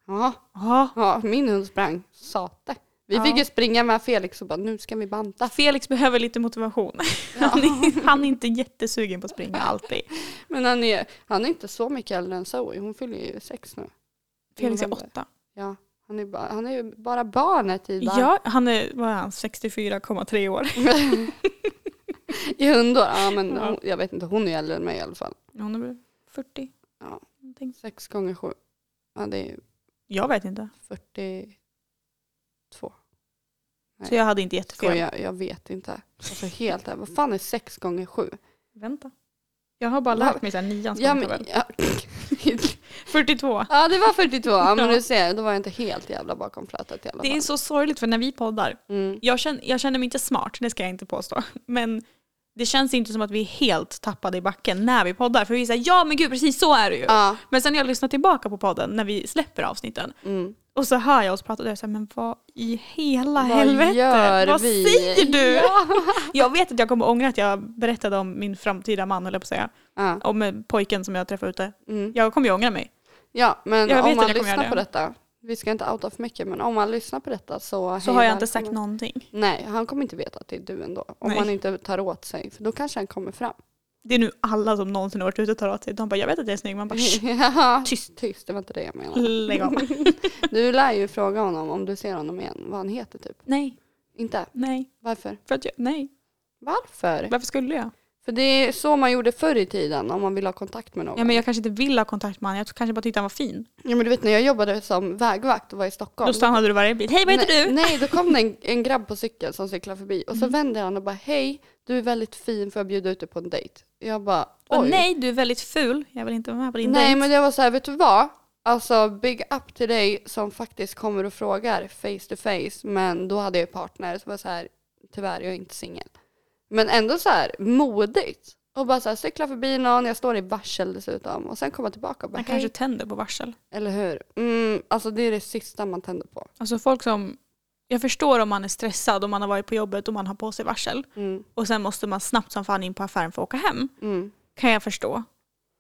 Ja,
ja.
ja min hund sprang. Sate. Vi
Ja.
fick ju springa med Felix och bara nu ska vi banta.
Felix behöver lite motivation. Han, är, han är inte jättesugen på att springa alltid.
Men han är, han är inte så mycket äldre än Zoe. Hon fyller ju sex nu. I
Felix är
november.
åtta.
Ja, han är, bara, han är ju bara barnet i, ja.
Ja, han är, vad är han, 64,3 år.
i hundår. Ja, men
Ja.
hon, jag vet inte, hon är ju äldre än mig i alla fall.
Hon är väl 40?
Ja.
Någonting.
Sex gånger sju. Ja, det är ju
Jag vet inte.
42.
Så jag hade inte jättefel.
Skojar, jag vet inte. Alltså helt här, vad fan är sex gånger sju?
Vänta. Jag har bara lärt mig såhär nians
Ja, men,
gångtabell.
ja.
42.
ja, det var 42. Ja, men
Ja.
du ser, då var jag inte helt jävla bakom flötet i alla
Det är
fall.
så sorgligt för när vi poddar
Mm.
jag känner, jag känner mig inte smart, det ska jag inte påstå. Men det känns inte som att vi är helt tappade i backen när vi poddar. För vi säger ja men gud precis så är det ju.
Ja,
Men sen när jag lyssnar tillbaka på podden när vi släpper avsnitten
mm.
och så hör jag oss prata och jag säger men vad i hela
Vad
helvete?
gör
vad
vi?
säger du?
Ja.
Jag vet att jag kommer ångra att jag berättade om min framtida man höll jag på att säga.
Ja,
Om eh, pojken som jag träffade ute.
mm.
Jag kommer ju ångra mig.
ja men
Jag vet
om
att
man
jag kommer
lyssnar
göra
på
det.
detta. Vi ska inte outa för mycket, men om man lyssnar på detta så...
Så
hej,
har jag inte
välkommen.
sagt någonting.
Nej, han kommer inte veta att det är du ändå. Om
Nej.
han inte tar åt sig, för då kanske han kommer fram.
Det är nu alla som någonsin har varit ute och tar åt sig. De bara jag vet att jag är snygg. Man bara "Shh,
Ja.
Tyst.
Tyst, det var inte det jag menade.
lägg av.
Du lär ju fråga honom om du ser honom igen, vad han heter typ.
Nej,
Inte?
nej.
Varför?
För att jag, nej,
Varför?
varför skulle jag?
För det är så man gjorde förr i tiden om man ville ha kontakt med någon.
Ja, men jag kanske inte vill ha kontakt med honom, jag kanske bara tyckte han var fin.
Ja, men du vet när jag jobbade som vägvakt och var i Stockholm.
Då stannade du varje bil. Hej vad heter du?
nej,
Mm.
Nej, då kom det en, en grabb på cykeln som cyklade förbi och så vände han och bara hej, du är väldigt fin, får jag bjuda ut dig på en dejt? Jag bara
Och
oj.
nej, du är väldigt ful. Jag vill inte vara med på din
Nej
dejt.
men det var så här, vet du vad? Alltså big up till dig som faktiskt kommer och frågar face to face men då hade jag ju partner så var jag så här tyvärr jag är inte singel. Men ändå så här modigt och bara så här cykla förbi någon, jag står i varsel dessutom och sen komma tillbaka och bara
Han
hej.
kanske tänder på varsel.
Eller hur? Mm, alltså det är det sista man tänder på.
Alltså folk som... Jag förstår om man är stressad, om man har varit på jobbet och man har på sig varsel.
Mm,
Och sen måste man snabbt som fan in på affären för att åka hem.
mm.
Kan jag förstå.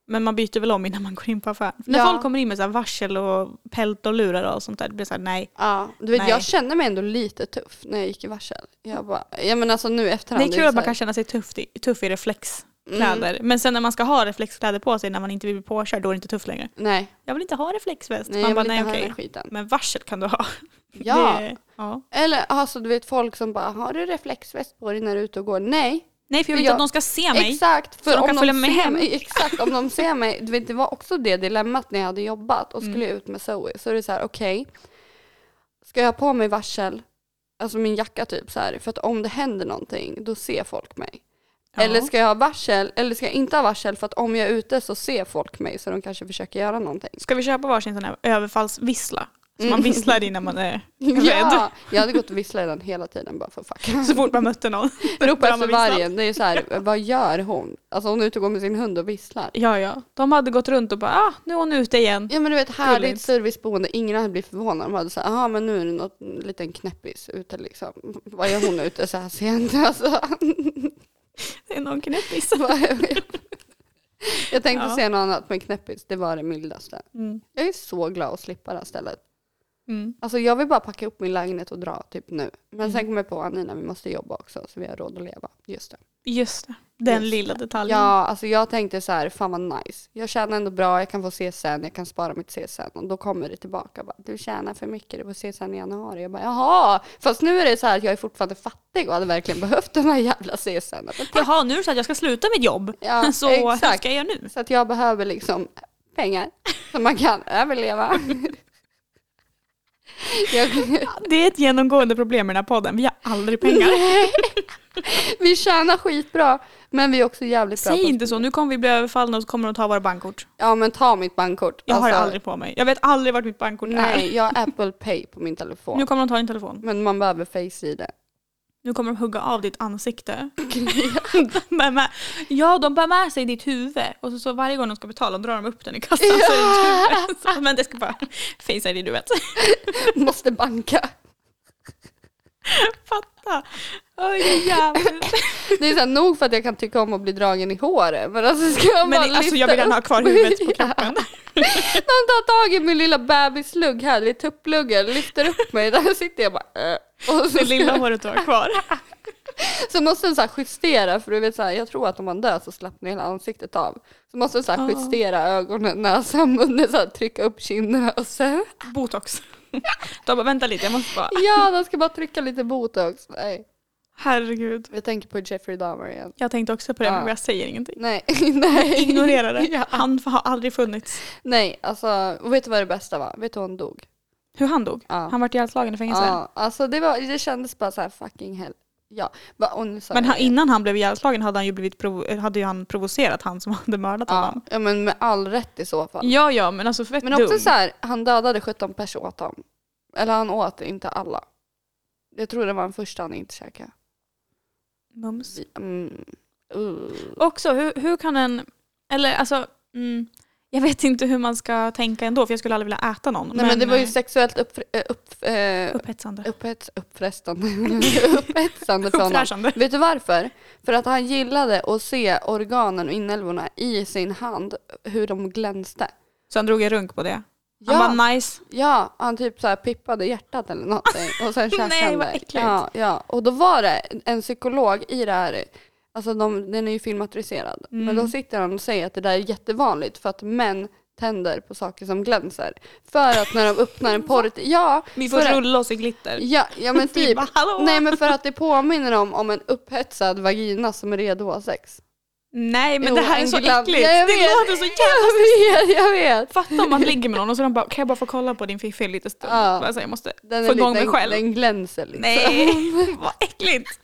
Men man byter väl om innan man går in på affären. När
Ja.
folk kommer in med så här varsel och pält och lurar och sånt där, det blir så här nej.
Ja, du vet
Nej.
jag kände mig ändå lite tuff när jag gick i varsel. Jag bara, ja men alltså nu i
Det
efterhand.
är
ju
kul att
så
man
här-
kan känna sig tuff i, tuff i reflex.
Mm,
kläder. Men sen när man ska ha reflexkläder på sig när man inte vill bli påkörd, då är det inte tufft längre.
nej,
Jag vill inte ha reflexväst.
nej
man
jag
bara,
vill
nej
inte ha
okej.
den här skiten.
Men varsel kan du ha.
Ja.
Det, ja.
Eller alltså du vet folk som bara, har du reflexväst på dig när du är ute och går? Nej,
Nej, för jag
För
vill inte
jag-
att de ska se mig.
exakt. För
de kan
om
följa
de
med
ser
hem.
mig, exakt, om de ser mig. Du vet, det var också det dilemmat när jag hade jobbat och skulle
Mm.
jag ut med Zoe. Så är det så här, okej, ska jag ha på mig varsel, alltså min jacka typ så här, för att om det händer någonting, då ser folk mig.
Ja.
Eller ska jag ha varsel, eller ska jag inte ha varsel för att om jag är ute så ser folk mig så de kanske försöker göra någonting.
Ska vi köpa varsin sån här överfallsvissla? Så
Mm.
man visslar innan man är rädd.
Ja, jag hade gått och visslat den hela tiden bara för fuck.
Så fort man mötte någon.
Ropa
Bara
efter
med visslan.
vargen, det är så här, vad gör hon? Alltså hon är ute och går med sin hund och visslar.
Ja, ja. De hade gått runt och bara, ah, nu är hon ute igen.
Ja men du vet härligt
Gulligt.
serviceboende, ingen hade blivit förvånad. De hade såhär, jaha men nu är det något en liten knäppis ute liksom. Vad gör hon ute så här sent? Alltså,
Det är någon knäppis.
vad- jag tänkte
Ja.
säga något annat men knäppis, det var det mildaste.
Mm.
Jag är så glad att slippa det här stället.
Mm.
Alltså jag vill bara packa upp min lägenhet och dra typ nu. Men sen kommer jag på Anina, vi måste jobba också så vi har råd att leva. Just det.
Just det. Den
Just
lilla detaljen.
Ja, alltså jag tänkte så här, fan vad nice. Jag tjänar ändå bra, jag kan få CSN, jag kan spara mitt CSN och då kommer det tillbaka. Bara, du tjänar för mycket, du får CSN i januari. Jag bara, jaha! Fast nu är det så här att jag är fortfarande fattig och hade verkligen behövt den här jävla CSN. Men tack.
Jaha, nu är det så att jag ska sluta mitt jobb.
Ja,
så hur
exakt.
ska jag göra nu?
Så att jag behöver liksom pengar som man kan överleva. jag,
Det är ett genomgående problem med den här podden. Vi har aldrig pengar.
Vi tjänar skitbra, men vi är också jävligt bra
Säg
på-
inte så, nu kommer vi bli överfallna och så kommer de ta våra bankkort.
Ja, men ta mitt bankkort.
Jag har det
Alltså,
aldrig på mig. Jag vet aldrig vart mitt bankkort
Nej, jag har Apple Pay på min
är.
telefon.
Nu kommer de ta din telefon.
Men man behöver face-id.
Nu kommer de hugga av ditt ansikte. De bär med, ja, de bär med sig ditt huvud. Och så, så varje gång de ska betala drar de upp den i kassan. Så är det ditt huvud. Men det ska bara fejsa det du vet.
Måste banka.
Fatta! Oj, det är jävligt.
Det är så här, nog för att jag kan tycka om att bli dragen i håret. Men alltså ska jag
Men
bara
det- alltså,
lyfta
jag vill gärna ha
upp-
kvar huvudet på kroppen.
De tar tag i min lilla bebislugg här, vid tuppluggen, lyfter upp mig. Där sitter jag bara... Äh. Och så,
Det
ska-
lilla håret du har kvar.
så måste den så här justera, för du vet så här, jag tror att om man dör så slappnar hela ansiktet av. Så måste den så
Ja.
här justera ögonen, näsan, munnen, så här, trycka upp kinderna och sen...
Botox. De bara, vänta lite, jag måste bara...
Ja, de ska bara trycka lite botox. Nej.
Herregud.
Jag tänker på Jeffrey Dahmer igen.
Jag tänkte också på det, men
Ja.
jag säger ingenting.
Nej, nej.
Ignorera det.
Ja.
Han har aldrig funnits.
Nej, alltså, och vet du vad det bästa var? Vet du hur hon dog?
Hur han dog?
Ja.
Han vart ihjälslagen i fängelse.
Ja, alltså det, var, det kändes bara så här fucking hell. Ja, bara, och nu sa
Men
jag
han,
det.
innan han blev ihjälslagen hade han ju blivit provo- eh, hade ju han provocerat han som hade mördat
ja,
honom.
ja, men med all rätt i så fall.
Ja, ja, men alltså fett
Men också
dum.
så här, han dödade 17 personer åt honom. Eller han åt inte alla. Jag tror det var den första han inte käkade.
Mums.
Mm. Uh.
Också, hur, hur kan en... Eller alltså... Mm, jag vet inte hur man ska tänka ändå, för jag skulle aldrig vilja äta någon.
Nej men det var ju
eh,
sexuellt uppfre- eh, upp, eh,
upphetsande.
upphets, uppfrestande. upphetsande för honom.
Uppfräschande.
Vet du varför? För att han gillade att se organen och inälvorna i sin hand, hur de glänste.
Så han drog en runk på det.
Ja,
Han bara nice.
ja han typ så här pippade hjärtat eller någonting och sen käkade
Nej,
han
vad
det.
äckligt.
Ja, ja. Och då var det en psykolog i det här, alltså de, den är ju filmatiserad,
Mm.
men då sitter han och säger att det där är jättevanligt för att män tänder på saker som glänser. För att när de öppnar en porr, ja,
Vi
får
får rulla oss i glitter.
ja, ja men
Vi
typ,
bara, hallå?
nej men för att det påminner om, om en upphetsad vagina som är redo att ha sex.
Nej, men
Jo,
det här är
en
så
glam-
äckligt.
Ja, jag
det
vet.
låter så jävla...
Jag vet, jag vet.
Fatta om man ligger med någon och så de bara, kan jag bara få kolla på din fiffi lite stund?
Ja.
Alltså, jag måste
Den,
få
är
igång
lite,
mig
den,
själv.
den glänser liksom.
Nej, vad äckligt.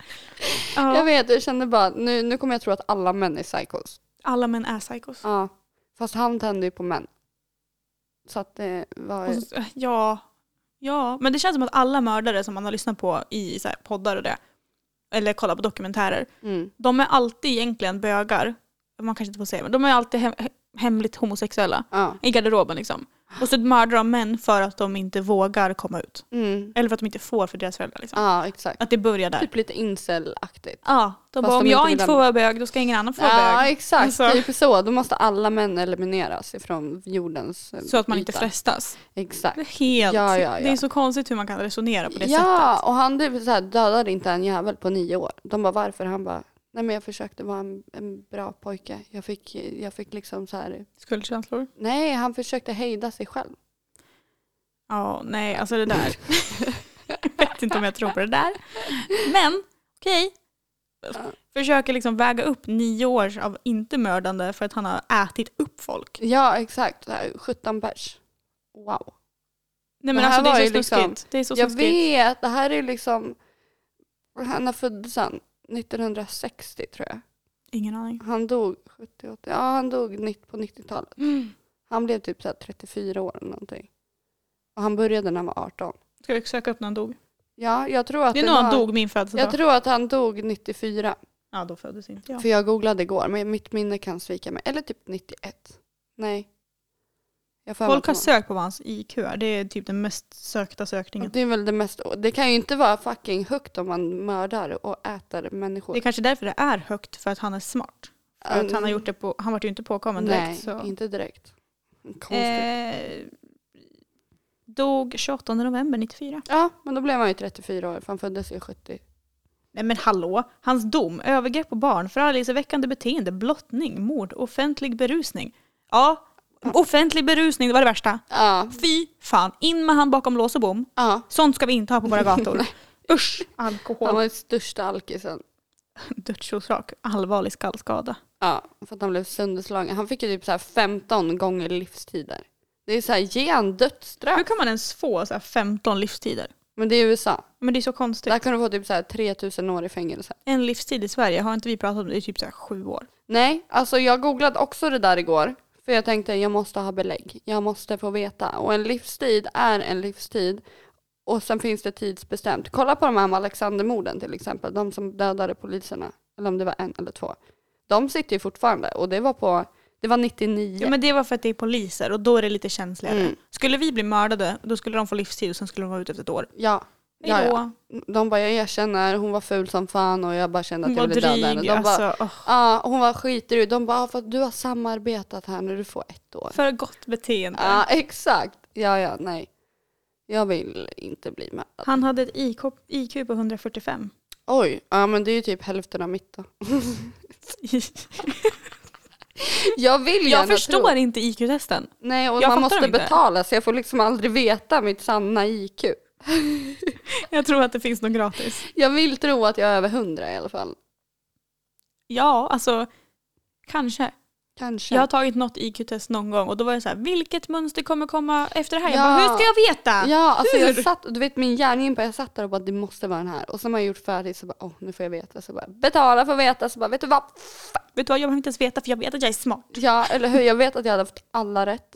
Ja,
Jag vet, jag kände bara nu, nu kommer jag tro att alla män är psychos.
alla män är psykos.
Ja. Fast han tände ju på män. Så att det var...
Och så- eh, Ja, ja, men det känns som att alla mördare som man har lyssnat på i så här, poddar och det, eller kollat på dokumentärer,
Mm.
de är alltid egentligen bögar. Man kanske inte får säga men de är alltid hem, hemligt homosexuella.
Ja.
I garderoben liksom. Och så mördar de män för att de inte vågar komma ut.
Mm.
Eller för att de inte får för deras föräldrar. Liksom.
ja, exakt.
Att det börjar där.
Typ lite incel-aktigt.
Ja, de
Fast
bara, om
de inte
jag
vill
inte får
lämna.
vara bög då ska ingen annan få vara
Ja,
bög.
exakt.
Alltså.
Typ så. Då måste alla män elimineras ifrån jordens eh,
Så att man inte
yta.
frestas.
Exakt.
Det är helt...
Ja, ja, ja.
Det är så konstigt hur man kan resonera på det
Ja,
sättet.
och han typ så här, dödade inte en jävel på nio år. De bara varför? Han bara, nej men jag försökte vara en, en bra pojke. Jag fick, jag fick liksom så här,
Skuldkänslor?
nej han försökte hejda sig själv.
Ja, nej, alltså det där. jag vet inte om jag tror på det där. Men, okej. Försöker liksom väga upp nio år av inte mördande för att han har ätit upp folk.
Ja exakt, så här, 17 pers. Wow.
Nej
Det
men
här
alltså det
var
är
ju
så snuskigt.
liksom-
det är så
jag
snuskigt.
vet, det här är liksom, han har föddes han 1960 tror jag.
Ingen aning.
Han dog 78, ja han dog nitt- på 90-talet.
Mm.
Han blev typ så här 34 år eller någonting. Och han började när han var 18.
Ska vi söka upp när han dog?
Ja, jag tror att
det är nog
var...
han dog min födelsedag.
Jag tror att han dog 94.
Ja, då föddes inte jag.
För jag googlade igår, men mitt minne kan svika mig. Eller typ 91. Nej. Jag får
Folk har
väl-
sökt på vad hans IQ är. Det är typ den mest sökta sökningen.
Det är väl det mest... Det kan ju inte vara fucking högt om man mördar och äter människor. Äh,
Det är kanske därför det är högt, för att han är smart. För att han har gjort det på, han vart ju inte påkommen direkt.
Nej,
så.
inte direkt. Konstigt.
Eh, dog 28 november 94.
Ja, men då blev han ju 34 år, för han föddes ju 70.
Nej men hallå, hans dom, övergrepp på barn, förargelseväckande beteende, blottning, mord, offentlig berusning. Ja, offentlig berusning, det var det värsta.
Ja,
Fy fan, in med han bakom lås och bom.
ja.
Sånt ska vi inte ha på våra gator. Usch! Alkohol.
Han var den största alkisen.
dödsorsak, allvarlig skallskada.
Ja, för att han blev sönderslagen. Han fick ju typ så här 15 gånger livstider. Det är så här, ge han dödsstraff.
Hur kan man ens få så här 15 livstider?
Men det är USA.
Men det är så konstigt.
Där kan du få typ så här 3000 år i fängelse.
En livstid i Sverige, har inte vi pratat om det i typ så här sju år?
Nej, alltså jag googlade också det där igår. För jag tänkte jag måste ha belägg. Jag måste få veta. Och en livstid är en livstid. Och sen finns det tidsbestämt. Kolla på de här med Alexandermorden till exempel. De som dödade poliserna. Eller om det var en eller två. De sitter ju fortfarande. Och det var på, det var 99.
Ja, men det var för att det är poliser och då är det lite känsligare.
Mm.
Skulle vi bli mördade, då skulle de få livstid och sen skulle de vara ute efter ett år.
ja. Ja,
Hejdå.
ja. De bara jag erkänner, hon var ful som fan och jag bara kände att
Hon var
jag ville döda henne.
dryg.
De bara,
Alltså, åh.
Ja, hon var skitdryg. De bara, "Ja, för att du har samarbetat här när du får ett år.
För gott beteende.
Ja, exakt. Ja, ja, nej. Jag vill inte bli mördad.
Han hade ett IK, IQ på 145.
Oj, ja men det är ju typ hälften av mitt då. Jag vill ju
jag
ändå
förstår
tro.
inte IQ-testen.
Nej, och
Jag
man
fattar
måste
dem inte.
betala så jag får liksom aldrig veta mitt sanna IQ.
Jag tror att det finns något gratis.
Jag vill tro att jag är över hundra i alla fall.
Ja, alltså kanske.
Kanske.
Jag har tagit något IQ-test någon gång och då var jag så här, vilket mönster kommer komma efter det här? Jag
Ja.
bara, hur ska jag veta?
Ja, alltså
Hur?
jag satt, du vet min hjärngympa, jag satt där och bara det måste vara den här. Och sen har jag gjort färdigt så bara, åh nu får jag veta. Så bara, betala för att veta. Så bara, vet du vad?
Vet du vad, jag behöver inte ens veta för jag vet att jag är smart.
Ja, eller hur? Jag vet att jag hade fått alla rätt.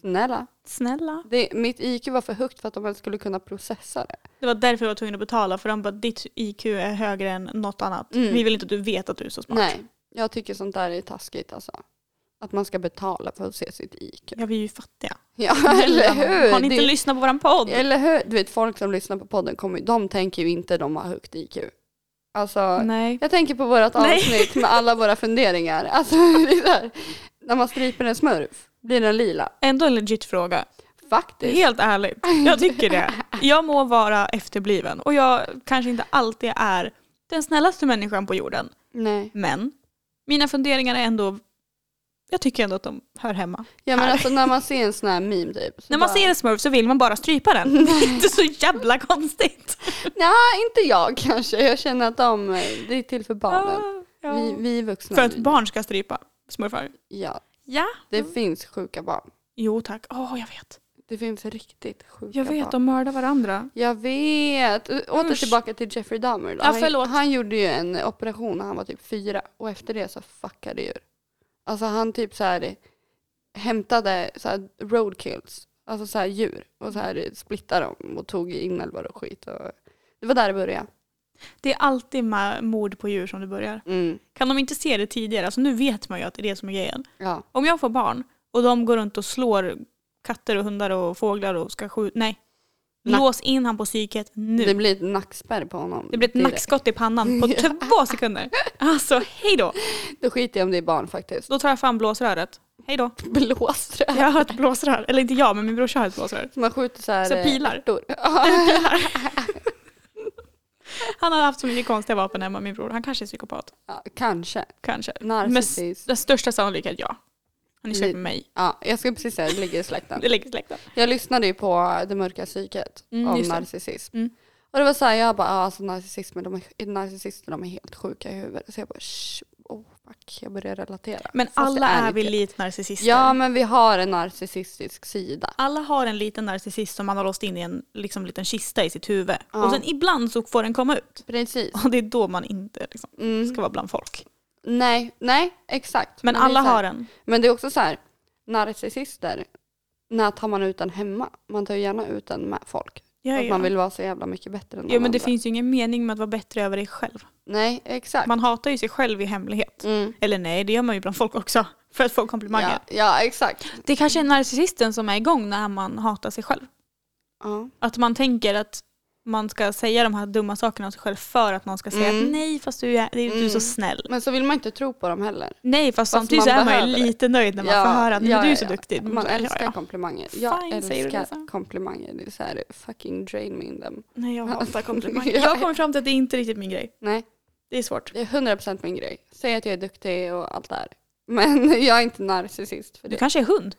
Snälla.
Snälla.
Det, mitt IQ var för högt för att de ens skulle kunna processa det.
Det var därför jag var tvungen att betala för de bara, ditt IQ är högre än något annat.
Mm.
Vi vill inte att du vet att du är så smart.
Nej, jag tycker sånt där är taskigt alltså. Att man ska betala för att se sitt IQ.
Ja, vi är ju fattiga.
Ja, eller hur?
Har ni inte
Det-
lyssnat på våran podd?
Eller hur? Du vet, folk som lyssnar på podden, kommer, ju- de tänker ju inte de har högt IQ. Alltså,
Nej.
jag tänker på vårt
Nej.
avsnitt med alla våra funderingar. Alltså, det är så här, när man stryper en smurf, blir den lila?
Ändå en legit fråga.
Faktiskt.
Helt ärligt, jag tycker det. Jag må vara efterbliven och jag kanske inte alltid är den snällaste människan på jorden.
Nej.
Men mina funderingar är ändå, jag tycker ändå att de hör hemma.
Ja, men
Här.
alltså när man ser en sån här meme typ. så
När man
bara-
ser en smurf så vill man bara strypa den. Det är inte så jävla konstigt.
Nej, inte jag kanske. Jag känner att de, eh, det är till för barnen.
Ja.
Vi, vi vuxna.
För att
vi-
barn Mm. ska strypa smurfar.
Ja,
Ja.
det finns sjuka barn.
Jo tack. Åh, jag vet.
Det finns riktigt sjuka
Jag vet,
barn.
de mördar varandra.
Jag vet. Ö- Åter
Usch.
tillbaka till Jeffrey Dahmer då.
Ja, förlåt.
Han, han gjorde ju en operation när han var typ fyra och efter det så fuckade djur. Alltså han typ så här hämtade så här roadkills, alltså så här djur och så här splittade dem och tog inälvor och skit. Och... Det var där det började.
Det är alltid med mord på djur som det börjar.
Mm.
Kan de inte se det tidigare? Alltså nu vet man ju att det är det som är grejen.
Ja.
Om jag får barn och de går runt och slår katter och hundar och fåglar och ska skjuta, nej.
Nack-
Lås in han på psyket nu.
Det blir ett nackspärr på honom.
Det blir ett
direkt.
nackskott i pannan på två sekunder. Alltså hej då.
Då skiter jag om det är barn faktiskt.
Då tar jag fram blåsröret. Hej då.
Blåströ.
Jag har ett blåsrör. Eller inte jag, men min brorsa har ett blåsrör.
Man skjuter så här.
Så
eh,
pilar.
ärtor.
Han har haft så mycket konstiga vapen hemma, min bror. Han kanske är psykopat.
Ja, kanske.
Kanske.
Alltså,
Men s-
Narcissist.
den största sannolikheten, ja. Han är släkt med mig.
Ja, jag skulle precis säga det ligger i släkten.
Det ligger i släkten.
Jag lyssnade ju på eh, Det mörka psyket
Mm,
om
just det.
narcissism.
Mm.
Och det var så här, jag bara, ah, alltså narcissismen, de är, narcissister de är helt sjuka i huvudet. Så jag bara, shh, oh fuck, jag börjar relatera.
Men
Fast
alla
det
är
inte.
vi lite narcissister.
Ja, men vi har en narcissistisk sida.
Alla har en liten narcissist som man har låst in i en liksom, liten kista i sitt huvud.
Ja.
Och sen ibland så får den komma ut.
Precis.
Och det är då man inte liksom,
Mm.
ska vara bland folk.
Nej, nej, exakt.
Men
det är
alla
så här-
har en.
Men det är också så här, narcissister, när tar man ut den hemma? Man tar ju gärna ut den med folk.
Ja,
För att
ja.
man vill vara så jävla mycket bättre än
Jo
alla
men det
andra.
finns ju ingen mening med att vara bättre över dig själv.
Nej, exakt.
Man hatar ju sig själv i hemlighet.
Mm.
Eller nej, det gör man ju bland folk också. För att få komplimanger.
Ja, ja, exakt.
Det kanske är narcissisten som är igång när man hatar sig själv.
Ja.
Att man tänker att man ska säga de här dumma sakerna om sig själv för att någon ska säga
Mm.
nej fast du är, du är
Mm.
så snäll.
Men så vill man inte tro på dem heller.
Nej fast, samtidigt
man
så är man ju
behöver det.
lite nöjd när man
Ja,
får höra att "Nej,
ja,
men du är
ja,
så
ja.
duktig.
Man
Ja, ja.
älskar komplimanger. Jag
Fine, säger du
älskar
det så?
komplimanger. Det är så här, fucking drain me in them.
Nej jag hatar komplimanger.
Ja,
Jag kommer fram till att det är inte riktigt min grej.
Nej,
Det är svårt.
det är 100% min grej. Säg att jag är duktig och allt det här. Men jag är inte narcissist för
Du
det.
kanske är hund?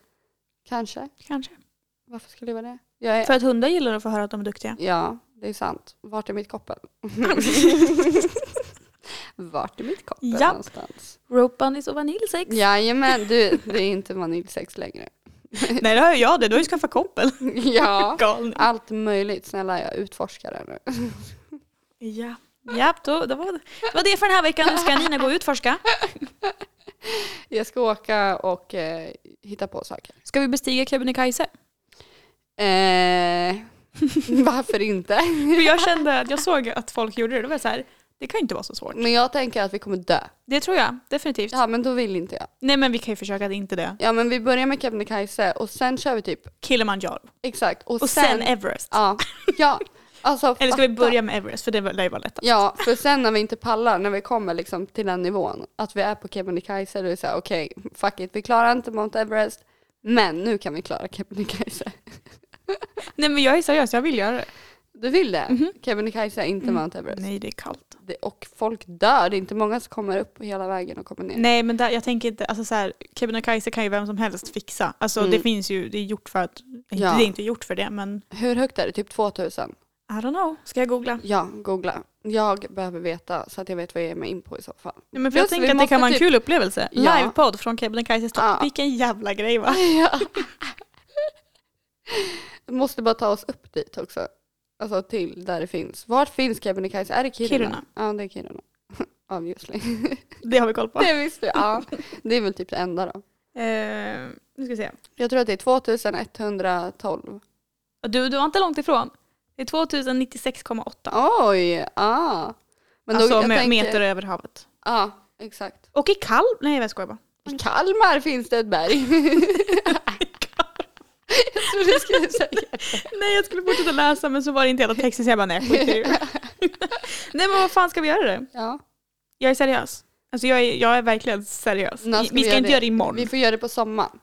Kanske.
Kanske.
Varför skulle jag vara det? Jag är...
För att hundar gillar att få höra att de är duktiga.
Ja, det är sant. Vart är mitt koppel? Vart är mitt koppel
Japp.
någonstans?
Rope bunnies och vaniljsex.
Jajamän, du, det är inte vaniljsex längre.
Nej det har ju jag det, du har ju skaffat koppel.
ja,
Galning.
allt möjligt. Snälla jag utforskar det nu.
Ja, ja då, då var det. det var det för den här veckan. Nu ska Nina gå och utforska.
Jag ska åka och eh, hitta på saker.
Ska vi bestiga Kebnekaise?
Eh, varför inte?
För jag kände att jag såg att folk gjorde det. Det var så här, det kan ju inte vara så svårt.
Men jag tänker att vi kommer dö.
Det tror jag definitivt.
Ja men då vill inte jag.
Nej men vi kan ju försöka att inte det.
Ja men vi börjar med Kebnekaise och sen kör vi typ,
Kilimanjaro.
exakt. Och,
Och sen Everest.
Ja, ja. Alltså,
Eller ska vi
fatta.
börja med Everest? För det lär ju vara lättast.
Ja, för sen när vi inte pallar, när vi kommer liksom till den nivån, att vi är på Kebnekaise, då är det såhär okej, fuck it, vi klarar inte Mount Everest, men nu kan vi klara Kebnekaise.
Nej men jag är seriös, jag vill göra det.
Du vill det? Kebnekaise är inte Mount Everest.
Mhm. Mm. Nej det är kallt.
Det, och folk dör, det är inte många som kommer upp hela vägen och kommer ner.
Nej men där, jag tänker inte, alltså så här, Kebnekaise kan ju vem som helst fixa. Alltså det finns ju, det är gjort för att,
Mm. Ja.
det är inte gjort för det men
Hur högt är det? Typ 2000?
I don't know. Ska jag googla?
Ja, googla. Jag behöver veta så att jag vet vad jag ger mig in på i så fall.
Nej, men för
Plus,
jag
vi
tänker att det
måste
kan vara en
typ-
kul upplevelse.
Ja.
Livepodd från Kebnekaise slott.
Ja.
Vilken jävla grej va?
Ja. Måste bara ta oss upp dit också. Alltså till där det finns. Vart finns Kebnekaise? Är det Kiruna?
Kiruna.
Ja, det är Kiruna. Obviously.
Det har vi koll på.
Det visste jag. Ja. Det är väl typ det enda då.
Eh, nu ska vi se.
Jag tror att det är 2112.
Du, du var inte långt ifrån. Det är 2096,8.
Oj! Ja. Men
Alltså
jag
me-
tänker-
meter över havet.
Ja, exakt.
Och i Kalmar, nej jag skojar bara.
I Kalmar finns det ett berg. jag trodde jag skulle säga.
Nej jag skulle fortsätta läsa men så var det inte hela texten så jag bara nej skit i det. Nej men vad fan ska vi göra det?
Ja.
Jag är seriös. Alltså jag är, jag är verkligen seriös.
När
vi
ska
vi
vi
ska
göra
inte
det?
göra det imorgon.
Vi får göra det på sommaren.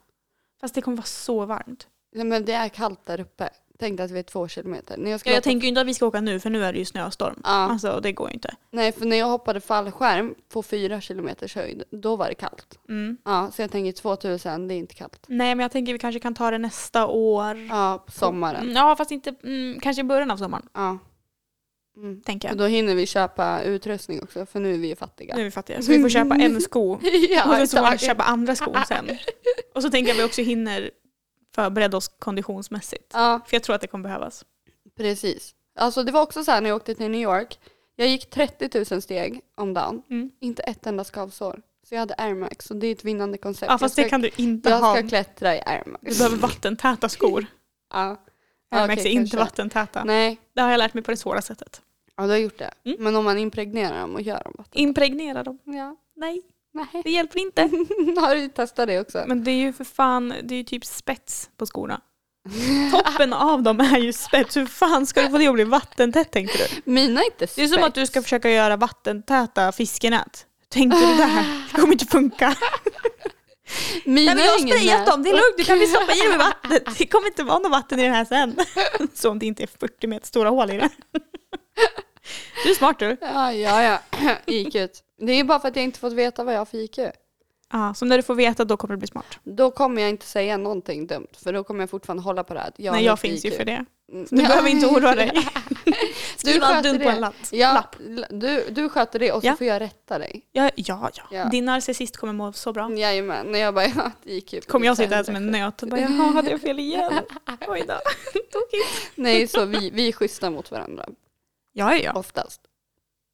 Fast det kommer vara så varmt.
Nej, men det är kallt där uppe. Tänkte att vi är två kilometer. När jag
Ja,
skulle
jag
hoppa-
tänker ju inte att vi ska åka nu för nu är det ju snöstorm.
Ja.
Alltså det går ju inte.
Nej, för när jag hoppade fallskärm på fyra kilometers höjd, då var det kallt.
Mm.
Ja, så jag tänker 2000, det är inte kallt.
Nej men jag tänker vi kanske kan ta det nästa år.
Ja, på sommaren.
Mm, Ja fast inte, mm, kanske i början av sommaren
Ja. Mm.
tänker
Och
jag.
då hinner vi köpa utrustning också, för nu är vi ju fattiga.
Nu är vi fattiga så vi får köpa en sko och
ja,
sen så får man
exakt.
köpa andra skor sen. Och så tänker jag att vi också hinner förbereda oss konditionsmässigt.
ja,
För jag tror att det kommer behövas.
precis. Alltså det var också så här när jag åkte till New York. Jag gick 30 000 steg om dagen.
Mm.
Inte ett enda skavsår. Så jag hade Air Max och det är ett vinnande koncept.
Ja fast
jag
det
ska,
kan du inte
jag
ha.
ska klättra i Air Max.
Du behöver vattentäta skor.
Ja.
Air
Okej,
Max är inte
kanske.
vattentäta.
Nej,
Det har jag lärt mig på det svåra sättet.
ja, du har gjort det.
Mm.
Men om man impregnerar dem och gör dem. vatten-
Impregnera dem.
Ja.
Nej,
Nej.
det hjälper inte.
Har du testat det också?
Men det är ju för fan, det är ju typ spets på skorna. Toppen av dem är ju spets. Hur fan ska du få det att bli vattentätt tänkte du?
Mina är inte
Det är som att du ska försöka göra vattentäta fiskenät. Tänkte du det här? Det kommer inte funka.
Mina
Nej, men jag har
är ingen
sprayat
nät.
dem, det är lugnt. Du kan vi stoppa i dem i vattnet. Det kommer inte vara något vatten i den här sen. Så om det inte är 40 meter stora hål i det. Du är smart du.
Ja, ja, ja. IQ. Det är bara för att jag inte fått veta vad jag har för IQ.
Ja, så när du får veta då kommer du bli smart.
Då kommer jag inte säga någonting dumt, för då kommer jag fortfarande hålla på det här. att
Nej,
har
jag
för
finns ju
IQ.
för det.
Mm.
Så du
Ja.
behöver inte oroa dig.
Du
Skriva
sköter
dumt på
det.
en lapp.
Ja,
lapp.
l- du, du sköter det och så
Ja.
får jag rätta dig.
Ja, ja, ja.
Ja. Mm.
Din narcissist kommer må så bra.
Jajamän, när jag bara, ja, ett IQ. på
Kommer jag sitta här
600.
som en nöt och bara jaha, hade jag fel igen? Oj då. Tokigt.
Nej, så vi, vi är schyssta mot varandra,
Ja, ja, ja.
oftast.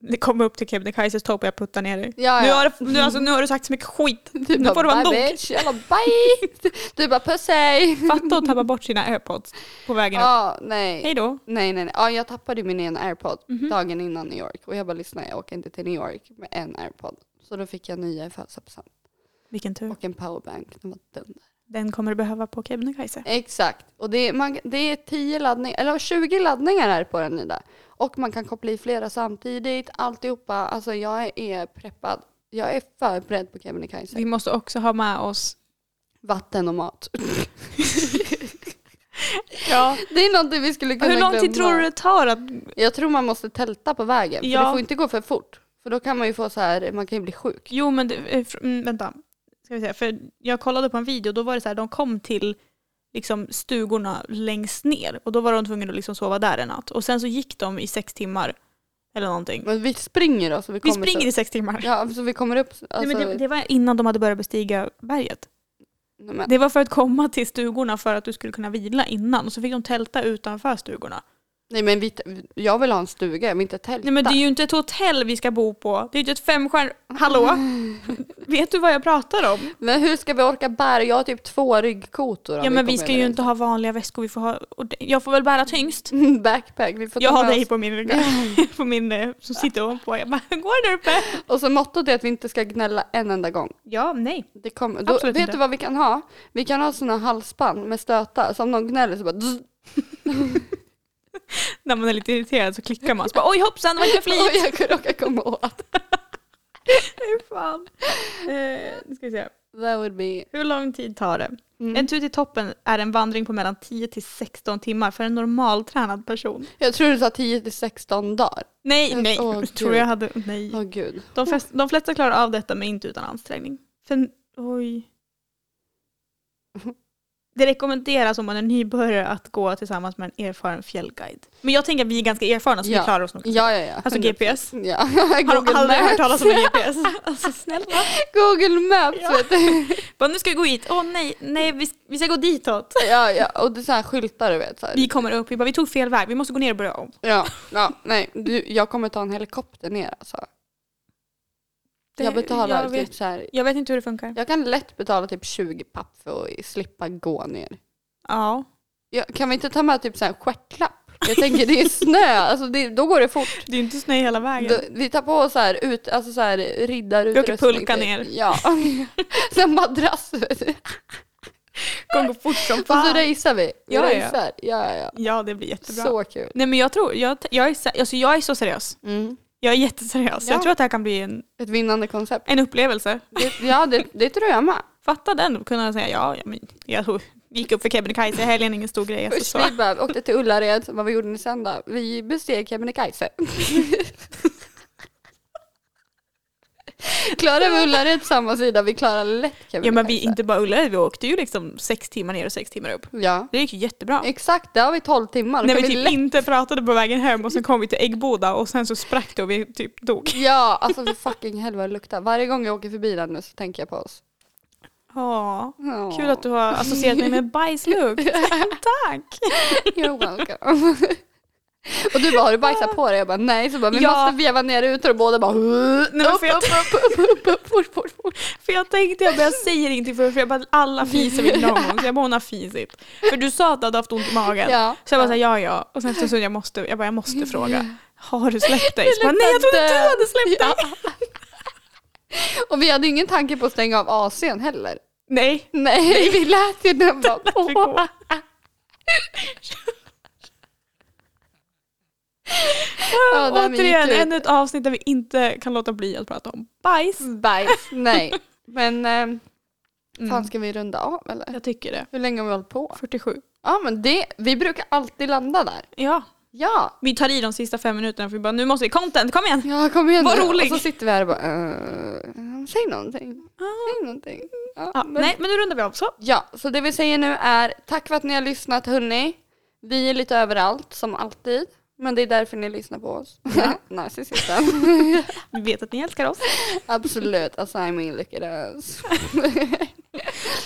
Det kom upp till Kebnekaises topp och jag puttar ner dig.
Ja,
Nu,
ja.
har, du- nu, alltså, nu har du sagt så mycket skit.
Du
Nu får det vara
bye
nog.
bitch, jag bara bye. Du bara puss hej.
Fatta att tappa bort sina airpods på vägen upp.
Ja, nej.
Hej då. Mhm.
Nej, nej, nej. Ja, jag tappade min ena airpod dagen innan New York. Och jag bara, lyssna, jag åker inte till New York med en airpod. Så då fick jag nya i födelsedagspresent.
Vilken tur.
Och en powerbank. Den var dunder.
Den kommer du behöva på Kebnekaise.
Exakt. Och det är, man, det är 10 laddningar, eller 20 laddningar här på den nya. Och man kan koppla i flera samtidigt. Alltihopa. Alltså jag är preppad. Jag är förberedd på Kebnekaise.
Vi måste också ha med oss
Vatten och mat.
ja.
Det är någonting vi skulle kunna
Hur lång tid
glömma.
tror du det tar att...
Jag tror man måste tälta på vägen. För
Ja.
det får inte gå för fort. För då kan man ju få så här, man kan ju bli sjuk.
Jo men det, eh, fr- mm, vänta. Ska vi säga. För jag kollade på en video då var det så här, de kom till liksom, stugorna längst ner och då var de tvungna att liksom, sova där en natt. Och sen så gick de i sex timmar eller någonting.
Men vi springer då så vi
Vi
kommer
springer i
upp.
sex timmar.
Ja, så vi kommer upp. Alltså,
Nej, men det, det var innan de hade börjat bestiga berget.
Nej, men,
Det var för att komma till stugorna för att du skulle kunna vila innan. Och så fick de tälta utanför stugorna.
nej, men vi, jag vill ha en stuga, jag vill inte tälta.
Nej men det är ju inte ett hotell vi ska bo på. Det är ju inte ett femstjärnigt... Hallå? Vet du vad jag pratar om?
Men hur ska vi orka bära? Jag har typ två ryggkotor. om
Ja men vi
kommer
ska ju inte ha vanliga väskor. Vi får ha... och det- Jag får väl bära tyngst.
överens. Backpack. Vi får
Jag
ta
har
med
dig
oss-
på min rygg. På min... eh, Som sitter ovanpå. Jag bara, går där uppe?
Och så mottot är att vi inte ska gnälla en enda gång.
Ja, nej.
Det kommer, då,
Absolut
vet
inte.
du vad vi kan ha? Vi kan ha sådana halsband med stötar. Så om någon gnäller så bara... dzz.
När man är lite irriterad så klickar man. Så bara, Oj hoppsan, det var inte flit.
Oj, jag kunde råka komma åt.
Fy fan. Eh, nu ska vi se.
That would be...
Hur lång tid tar det?
Mm.
En tur till toppen är en vandring på mellan 10 till 16 timmar för en normaltränad person.
Jag tror du sa 10 till 16 dagar.
Nej,
Mm,
nej.
åh,
jag tror
gud.
jag hade... Nej.
Åh gud.
De, flest, de flesta klarar av detta men inte utan ansträngning. För, oj. Det rekommenderas om man är nybörjare att gå tillsammans med en erfaren fjällguide. Men jag tänker att vi är ganska erfarna så
Ja.
vi klarar oss nog.
Ja, ja, ja.
Alltså GPS.
Ja.
Har de
Google
aldrig
Maps.
hört talas om GPS? Alltså snälla.
Google Maps
Ja.
vet du.
Bara, nu ska vi gå hit. Åh nej, nej vi, vi ska gå ditåt.
Ja, ja. Och det är så här skyltar du vet. Så här.
Vi kommer upp, vi bara vi tog fel väg, vi måste gå ner och börja om.
Ja, ja, nej. Du, jag kommer ta en helikopter ner alltså.
Det-
jag betalar
jag
typ
vet-
så här.
Jag vet inte hur det funkar.
Jag kan lätt betala typ 20 papp för att slippa gå ner.
Ja.
Ja, kan vi inte ta med typ så här stjärtlapp? Jag tänker det är snö, alltså det, då går det fort.
Det är ju inte snö hela vägen.
Då, vi tar på oss så här, ut, alltså så här riddarutrustning.
Vi åker pulka
typ.
ner.
Ja. Sen madrass vet du.
kommer gå fort som
Och så racear vi. vi
Ja, ja.
racear. ja, ja.
Ja, det blir jättebra.
Så kul.
Nej men jag tror, jag, jag, är, sä- alltså, jag är så seriös. Jag är jätteseriös.
Ja.
Jag tror att det här kan bli en,
Ett vinnande koncept.
en upplevelse.
Det, ja, det, det tror jag med.
Fatta den, kunna säga ja, ja men jag tog, gick upp för Kebnekaise i helgen, ingen stor grej. Alltså,
Först
så.
vi bara åkte till Ullared, vad vi gjorde ni sen då? Vi besteg Kebnekaise. klarar vi Ullared samma sida, vi klarar lätt Kebnekaise.
Ja men vi, inte bara Ullared, vi åkte ju liksom sex timmar ner och sex timmar upp.
Ja,
Det gick ju jättebra.
exakt, där har vi 12 timmar. Då
När
kan
vi
vi
typ
lätt...
inte pratade på vägen hem och sen kom vi till Äggboda och sen så sprack det och vi typ dog.
Ja, alltså för fucking helvete vad det luktar. Varje gång jag åker förbi den nu så tänker jag på oss.
Ja,
Ja.
kul att du har associerat mig med bajslukt. Tack!
You're welcome. Och du bara, har du bajsat på dig? Jag bara, nej. Så bara, vi
Ja.
måste veva ner rutor och båda bara,
Nej, men
upp,
för jag-
upp, upp, upp, upp, upp, fort, fort, fort.
För jag tänkte, jag, bara, jag säger ingenting för, för jag bara, alla fiser väl någon gång. Så jag bara, hon har fisit. För du sa att du hade haft ont i magen.
Ja.
Så jag bara, så här, ja ja. Och sen efter en stund, jag måste, jag bara, jag måste fråga. Har du släppt dig? Så bara,
luktar
nej jag trodde du
död.
hade släppt dig.
Och vi hade ingen tanke på att stänga av AC'n heller.
Nej.
Nej, vi lät ju den vara
Vi går.
på. Ja, den gick
Återigen,
ut.
ännu ett avsnitt där vi inte kan låta bli att prata om bajs.
Mm. Bajs, nej. Men ehm,
Mm.
fan ska vi runda av eller?
Jag tycker det.
Hur länge har vi hållit på?
47.
Ja men det, vi brukar alltid landa där.
Ja.
Ja.
Vi tar i de sista fem minuterna för vi bara, nu måste vi content, kom igen!
Ja kom igen
Vad
nu.
rolig. Ah.
Och så sitter vi här och bara, eh, säg någonting. Säg någonting. Ja,
Ja,
men-
nej, men nu rundar vi av så.
Ja, så det vi säger nu är tack för att ni har lyssnat hörni. Vi är lite överallt som alltid. Men det är därför ni lyssnar på oss. Narcissisten.
Vi vet att ni älskar oss.
Absolut, alltså I mean look at us.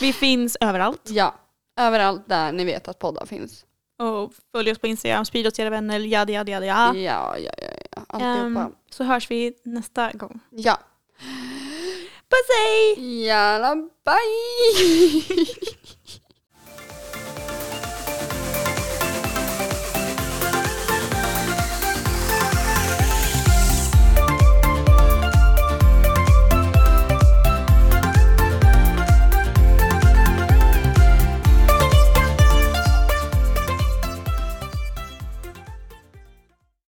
Vi finns överallt.
ja, överallt där ni vet att poddar finns.
Och följ oss på Instagram, sprid oss till era vänner, jada jada jada. jada.
Ja, ja, ja, ja.
Ehm,
alltihopa.
så hörs vi nästa gång.
Ja.
Puss hej!
Jalla, bye!